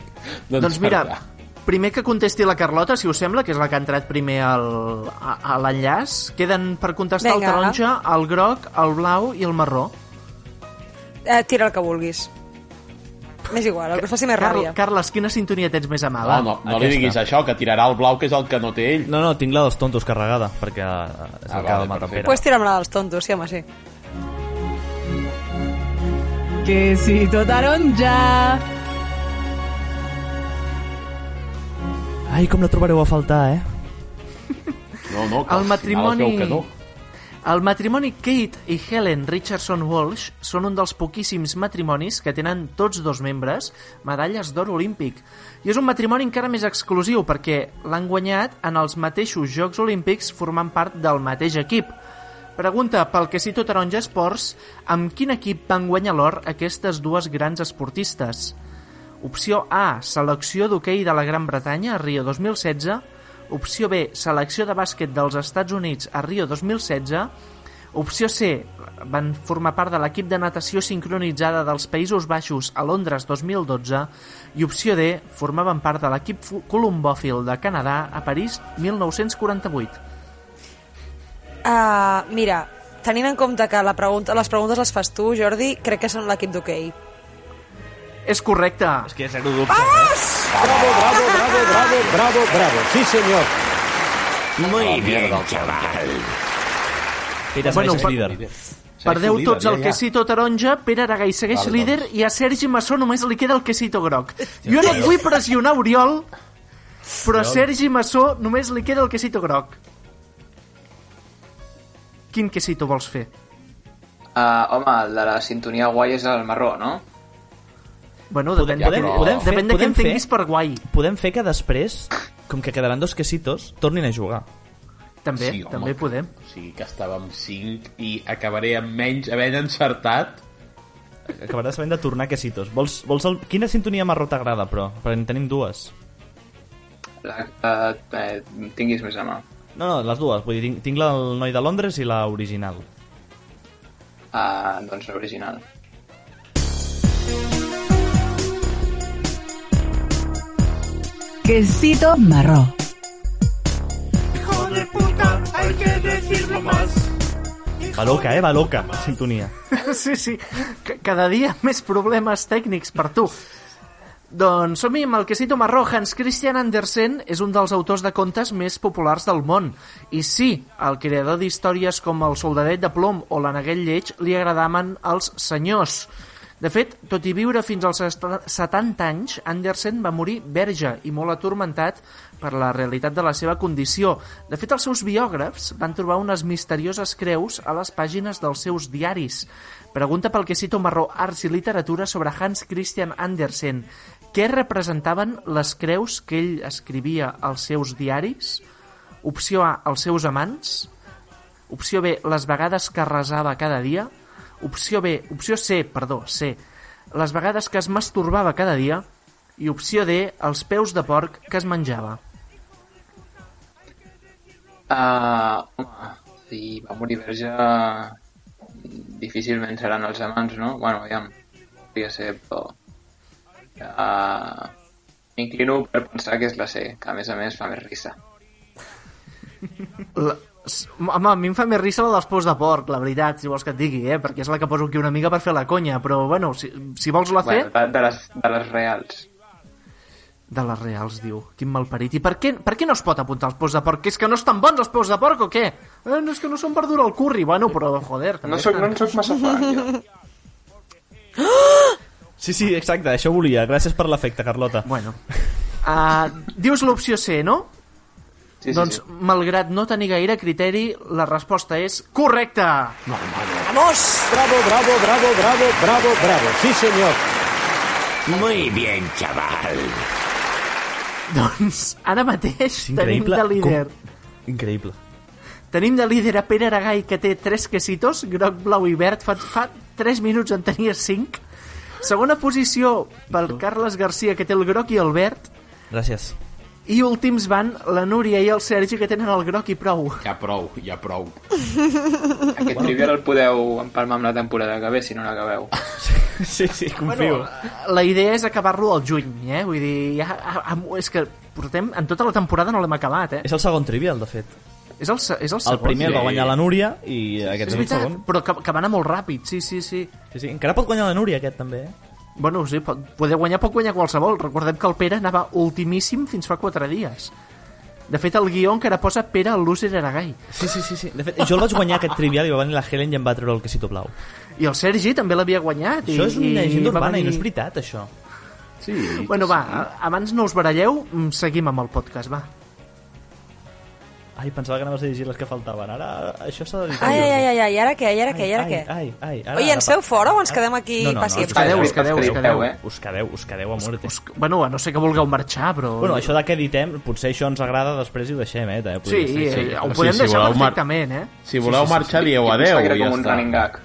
Speaker 2: Doncs mira,
Speaker 3: d'encertar.
Speaker 2: primer que contesti la Carlota, si us sembla, que és la que ha entrat primer al, a, a l'enllaç, queden per contestar
Speaker 6: Vinga.
Speaker 2: el taronja, el groc, el blau i el marró.
Speaker 6: Eh, tira el que vulguis. M'és igual, el que us faci més
Speaker 2: Car
Speaker 6: ràbia.
Speaker 2: Carles, quina sintonia tens més a mà?
Speaker 3: No,
Speaker 2: va?
Speaker 3: no, no li
Speaker 4: Aquesta.
Speaker 3: diguis això, que tirarà el blau, que és el que no té ell.
Speaker 4: No, no, tinc la dels tontos carregada, perquè eh, és
Speaker 3: Ah,
Speaker 4: el que ha
Speaker 3: vale,
Speaker 4: de matar
Speaker 3: perfecte.
Speaker 4: Pere.
Speaker 6: Pues tira'm la dels tontos, sí, home, sí.
Speaker 5: Quesito taronja.
Speaker 4: Ai, com la trobareu a faltar, eh?
Speaker 3: No, no, que
Speaker 2: El
Speaker 3: al final
Speaker 2: matrimoni-
Speaker 3: es veu Que no.
Speaker 2: El matrimoni Kate i Helen Richardson Walsh són un dels poquíssims matrimonis que tenen tots dos membres medalles d'or olímpic. I és un matrimoni encara més exclusiu perquè l'han guanyat en els mateixos Jocs Olímpics formant part del mateix equip. Pregunta pel que cito Taronja Esports amb quin equip van guanyar l'or aquestes dues grans esportistes. Opció A, selecció d'hoquei de la Gran Bretanya a Rio 2016. Opció B, selecció de bàsquet dels Estats Units a Rio 2016. Opció C, van formar part de l'equip de natació sincronitzada dels Països Baixos a Londres 2012. I opció D, formaven part de l'equip fu- colombòfil de Canadà a París 1948.
Speaker 6: Uh, mira, tenint en compte que la pregunta, les preguntes les fas tu, Jordi, crec que són l'equip d'hoquei.
Speaker 2: És correcte!
Speaker 4: És que zero dubte, eh?
Speaker 10: Bravo, bravo, bravo, bravo, bravo, bravo. Sí, señor.
Speaker 11: Muy
Speaker 3: mierda,
Speaker 11: bien,
Speaker 3: chaval.
Speaker 11: chaval.
Speaker 4: Pere
Speaker 2: Bueno,
Speaker 4: segueix
Speaker 2: per-
Speaker 4: líder.
Speaker 2: Perdeu
Speaker 3: líder,
Speaker 2: tots
Speaker 3: ja,
Speaker 2: el
Speaker 3: ja.
Speaker 2: quesito taronja, Pere Aragai segueix
Speaker 3: Vale,
Speaker 2: líder
Speaker 3: doncs.
Speaker 2: i a Sergi Massó només li queda el quesito groc. Jo no et vull pressionar, Oriol, però a Sergi Massó només li queda el quesito groc. Quin quesito vols fer?
Speaker 8: Ah, home, el de la sintonia guai és el marró, no?
Speaker 2: Bueno, depèn,
Speaker 4: Podem-
Speaker 2: de,
Speaker 3: podem
Speaker 4: fer-
Speaker 2: depèn de què
Speaker 4: podem
Speaker 2: en tinguis
Speaker 4: fer?
Speaker 2: per guai.
Speaker 4: Podem fer que després, com que quedaran dos quesitos, tornin a jugar.
Speaker 2: També,
Speaker 3: Sí, home,
Speaker 2: també
Speaker 3: que-
Speaker 2: podem.
Speaker 3: O sigui, que estava amb 5 i acabaré amb menys havent encertat.
Speaker 4: Acabaràs havent de tornar quesitos. Vols, vols el... Quina sintonia marró t'agrada, però? Perquè en tenim dues.
Speaker 8: La que eh, tinguis més a mà.
Speaker 4: No, no, les dues. Vull dir, tinc, tinc la del noi de Londres i la original.
Speaker 8: Ah, doncs l'original.
Speaker 3: Eh,
Speaker 5: Quesito marró.
Speaker 4: Va loca, eh? Va loca, la sintonia.
Speaker 2: Sí, sí. C- Cada dia més problemes tècnics per tu. Doncs som-hi amb el quesito marró. Hans Christian Andersen és un dels autors de contes més populars del món. I sí, al creador d'històries com El soldadet de plom o l'Aneguet lleig li agradaven els senyors. De fet, tot i viure fins als sesta- 70 anys, Andersen va morir verge i molt atormentat per la realitat de la seva condició. De fet, els seus biògrafs van trobar unes misterioses creus a les pàgines dels seus diaris. Pregunta pel que cito Marró Arts i Literatura sobre Hans Christian Andersen. Què representaven les creus que ell escrivia als seus diaris? Opció A, els seus amants. Opció B, les vegades que resava cada dia. Opció B, opció C, perdó, C, les vegades que es masturbava cada dia. I opció D, els peus de porc que es menjava.
Speaker 8: Ah, home, si va morir verge, eh, difícilment seran els amants, no? Bueno, aviam, podria ser, però... Ah, M'inclino per pensar que és la C, que a més a més fa més risa.
Speaker 2: La, S- Home, a mi em fa més risa la dels pous de porc, la veritat, si vols que et digui, eh? Perquè és la que poso aquí una mica per fer la conya, però, bueno, si, si vols la fer...
Speaker 8: Bueno, de, de, les, de les reals.
Speaker 2: De les reals, diu. Quin malparit. I per què, per què no es pot apuntar als pous de porc? Que és que no estan bons els pous de porc o què? Eh, no és que no són verdura al curri. Bueno, però, joder...
Speaker 8: No soc, no en soc massa fan, jo.
Speaker 4: Sí, sí, exacte, això volia. Gràcies per l'efecte, Carlota.
Speaker 2: Bueno. Uh, dius l'opció C, no?
Speaker 8: Sí, sí,
Speaker 2: doncs,
Speaker 8: sí.
Speaker 2: malgrat no tenir gaire criteri, la resposta és correcta! No,
Speaker 6: ¡Vamos!
Speaker 10: Bravo, bravo, bravo, bravo, bravo, bravo. Sí, señor.
Speaker 11: Muy bien, chaval.
Speaker 2: Doncs ara mateix tenim de líder.
Speaker 4: Com... Increïble.
Speaker 2: Tenim de líder a Pere Aragai, que té 3 quesitos, groc, blau i verd. Fa, fa 3 minuts en tenia 5. Segona posició pel Carles Garcia, que té el groc i el verd.
Speaker 4: Gràcies.
Speaker 2: I últims van la Núria i el Sergi, que tenen el groc i prou.
Speaker 3: Ja prou, ja prou.
Speaker 8: Aquest trivial el podeu empalmar amb la temporada que ve, si no l'acabeu.
Speaker 4: Sí, sí, confio. Bueno, eh,
Speaker 2: La idea és acabar-lo al juny, eh? Vull dir, ja, a, a, és que portem... En tota la temporada no l'hem acabat, eh?
Speaker 4: és el segon trivial, de fet.
Speaker 2: És el, se- és
Speaker 4: El
Speaker 2: el segon.
Speaker 4: primer el va
Speaker 3: sí.
Speaker 4: guanyar la Núria i aquest
Speaker 2: És
Speaker 4: és el
Speaker 2: veritat,
Speaker 4: segon.
Speaker 2: però que, que va anar molt ràpid, sí, sí, sí.
Speaker 4: Sí, sí. Encara pot guanyar la Núria, aquest, també, eh?
Speaker 2: Bueno, sí, pot, poder guanyar pot guanyar qualsevol. Recordem que el Pere anava ultimíssim fins fa 4 dies. De fet, el guió encara posa Pere al loser Aragai.
Speaker 4: Sí, sí, sí, sí. De fet, jo el vaig guanyar aquest trivial i va venir la Helen i em va treure el quesito blau.
Speaker 2: I el Sergi també l'havia guanyat.
Speaker 4: Això
Speaker 2: i,
Speaker 4: és una llegenda
Speaker 2: va
Speaker 4: urbana i
Speaker 2: venir-
Speaker 4: no és veritat, això.
Speaker 3: Sí.
Speaker 2: Bueno, va, abans no us baralleu, mm, seguim amb el podcast, va.
Speaker 4: Ai, pensava que anaves a llegir les que faltaven. Ara, això s'ha de dir.
Speaker 6: Ai, ai, ai, ai, ai, ara què, i ara què, i ara Ah, què?
Speaker 4: Ai, ai, ai, ara,
Speaker 6: Oye, ens
Speaker 4: ara-
Speaker 6: feu fora o ens quedem aquí
Speaker 4: No, no, no,
Speaker 6: passi
Speaker 4: ens
Speaker 6: a passi?
Speaker 2: Quedeu, us
Speaker 8: Espera,
Speaker 2: quedeu, us
Speaker 8: espera,
Speaker 2: quedeu.
Speaker 8: eh?
Speaker 4: Us quedeu, us quedeu a muerte.
Speaker 2: Us, bueno, a no sé que vulgueu marxar, però...
Speaker 4: Bueno, això de què editem, potser això ens agrada, després i ho deixem, eh? També,
Speaker 2: Sí,
Speaker 4: podria ser.
Speaker 2: eh,
Speaker 3: sí.
Speaker 2: ho
Speaker 3: Sí,
Speaker 2: podem
Speaker 3: si
Speaker 2: deixar
Speaker 3: voleu, Marc.
Speaker 2: perfectament, eh?
Speaker 3: Si voleu marxar, dieu
Speaker 8: Jo
Speaker 3: adéu
Speaker 8: pensava que era
Speaker 3: i ja
Speaker 8: com un
Speaker 3: està.
Speaker 8: running gag.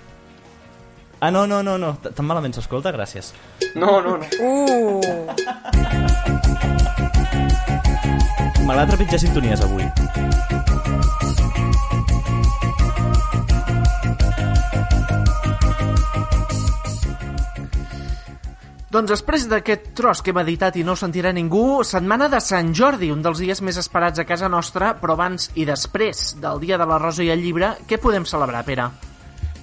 Speaker 4: Ah, no, no, no, no. t- Tan malament s'escolta, gràcies.
Speaker 8: No, no, no.
Speaker 6: Uh,
Speaker 4: M'agrada trepitjar sintonies avui.
Speaker 2: Doncs després d'aquest tros que hem editat i no ho sentirà ningú, setmana de Sant Jordi, un dels dies més esperats a casa nostra, però abans i després del Dia de la Rosa i el Llibre, què podem celebrar, Pere?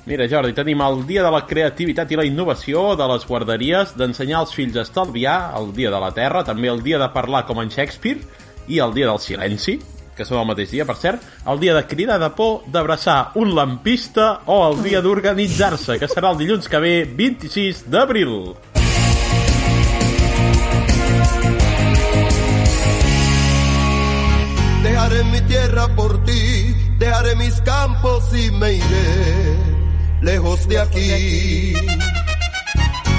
Speaker 3: Mira, Jordi, tenim el Dia de la Creativitat i la Innovació, de les guarderies, d'ensenyar als fills a estalviar, el Dia de la Terra, també el Dia de parlar com en Shakespeare i el Dia del Silenci, que són el mateix dia, per cert, el Dia de cridar de por, d'abraçar un lampista o el Dia d'organitzar-se, que serà el dilluns que ve, 26 d'abril.
Speaker 9: Dejaré mi tierra por ti, dejaré mis campos y me iré lejos de aquí.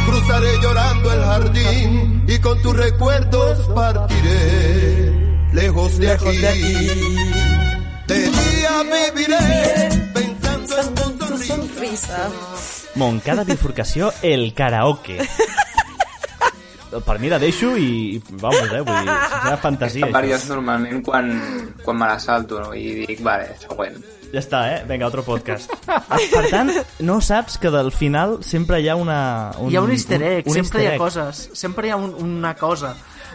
Speaker 9: Cruzaré llorando el jardín y con tus recuerdos partiré lejos de aquí. De día viviré pensando en tu
Speaker 6: tu
Speaker 9: sonrisa.
Speaker 6: sonrisa.
Speaker 4: Montcada bifurcació, el karaoke. Per mi la deixo i... i Vamos, eh? Vull dir, és una fantasia.
Speaker 8: Em
Speaker 4: Això.
Speaker 8: varies normalment quan, quan me la salto, no? I dic, vale,
Speaker 6: Uh.
Speaker 8: següent.
Speaker 4: Ja està, eh? Vinga, altre podcast. Per tant, no saps que del final sempre hi ha una...
Speaker 2: hi ha un easter egg, sempre
Speaker 4: easter
Speaker 2: hi ha
Speaker 4: egg.
Speaker 2: coses, sempre hi ha un, una cosa.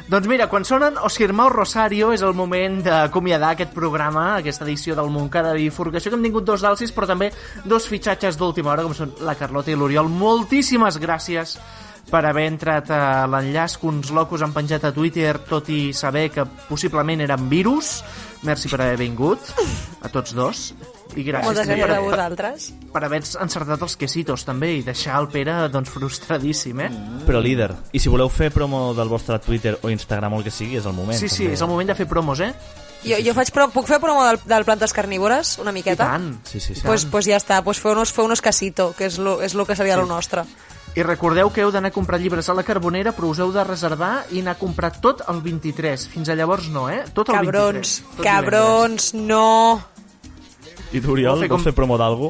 Speaker 2: Doncs mira, quan sonen Os Girmao Rosario és el moment d'acomiadar aquest programa, aquesta edició del Montcada Bifurcació, que hem tingut dos dalsis, però també dos fitxatges d'última hora, com són la Carlota i l'Oriol. Moltíssimes gràcies per haver entrat a l'enllaç que uns locos han penjat a Twitter, tot i saber que possiblement eren virus. Merci per haver vingut, a tots dos. I gràcies
Speaker 6: Moltes
Speaker 2: també
Speaker 6: gràcies
Speaker 2: per
Speaker 6: a vosaltres.
Speaker 2: per haver encertat els quesitos també i deixar el Pere doncs, frustradíssim eh?
Speaker 4: Però líder, i si voleu fer promo del vostre Twitter o Instagram o el que sigui, és el moment.
Speaker 2: sí, sí,
Speaker 4: també.
Speaker 2: és el moment de fer promos eh?
Speaker 6: Jo, jo faig pro, puc fer promo del, del Plantes Carnívores, una
Speaker 2: i
Speaker 6: miqueta?
Speaker 2: tant
Speaker 4: Sí, sí, sí.
Speaker 6: Pues, pues ja està, pues feu-nos feu casito, que és lo, és lo que seria lo nostre.
Speaker 2: i recordeu que heu d'anar a comprar llibres a la Carbonera però us heu de reservar i anar a comprar tot el 23 fins a llavors no, eh? tot el
Speaker 6: Cabrons,
Speaker 2: 23 tot
Speaker 6: cabrons, no.
Speaker 4: I tu, Oriol,
Speaker 2: Vol fer
Speaker 4: vols
Speaker 2: com-
Speaker 4: fer promo d'algú?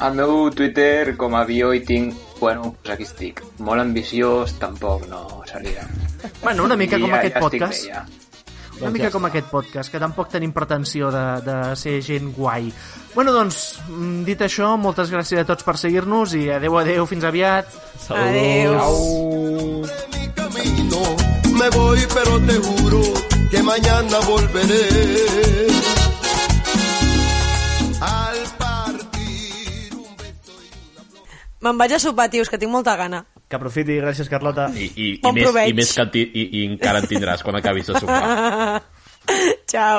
Speaker 8: Al meu Twitter, com a bio, hi tinc... Bueno, doncs aquí estic. Molt ambiciós, tampoc no seria.
Speaker 2: divendres. bueno, una mica
Speaker 8: I
Speaker 2: com
Speaker 8: ja,
Speaker 2: aquest
Speaker 8: ja estic
Speaker 2: podcast
Speaker 8: Bé, ja.
Speaker 2: una mica com aquest podcast, que tampoc tenim pretensió de, de ser gent guai. Bueno, doncs, mm, dit això, moltes gràcies a tots per seguir-nos i adeu, adeu, fins aviat.
Speaker 6: Adéu.
Speaker 9: de mi camino. Me voy, pero te juro que mañana volveré.
Speaker 6: Me'n vaig a sopar, tios, que tinc molta gana.
Speaker 4: Que aprofiti, gràcies, Carlota.
Speaker 3: I, i, i,
Speaker 6: Bon
Speaker 3: més,
Speaker 6: proveig.
Speaker 3: i, més que en ti- i, i encara en tindràs quan acabis de sopar.
Speaker 6: Ciao.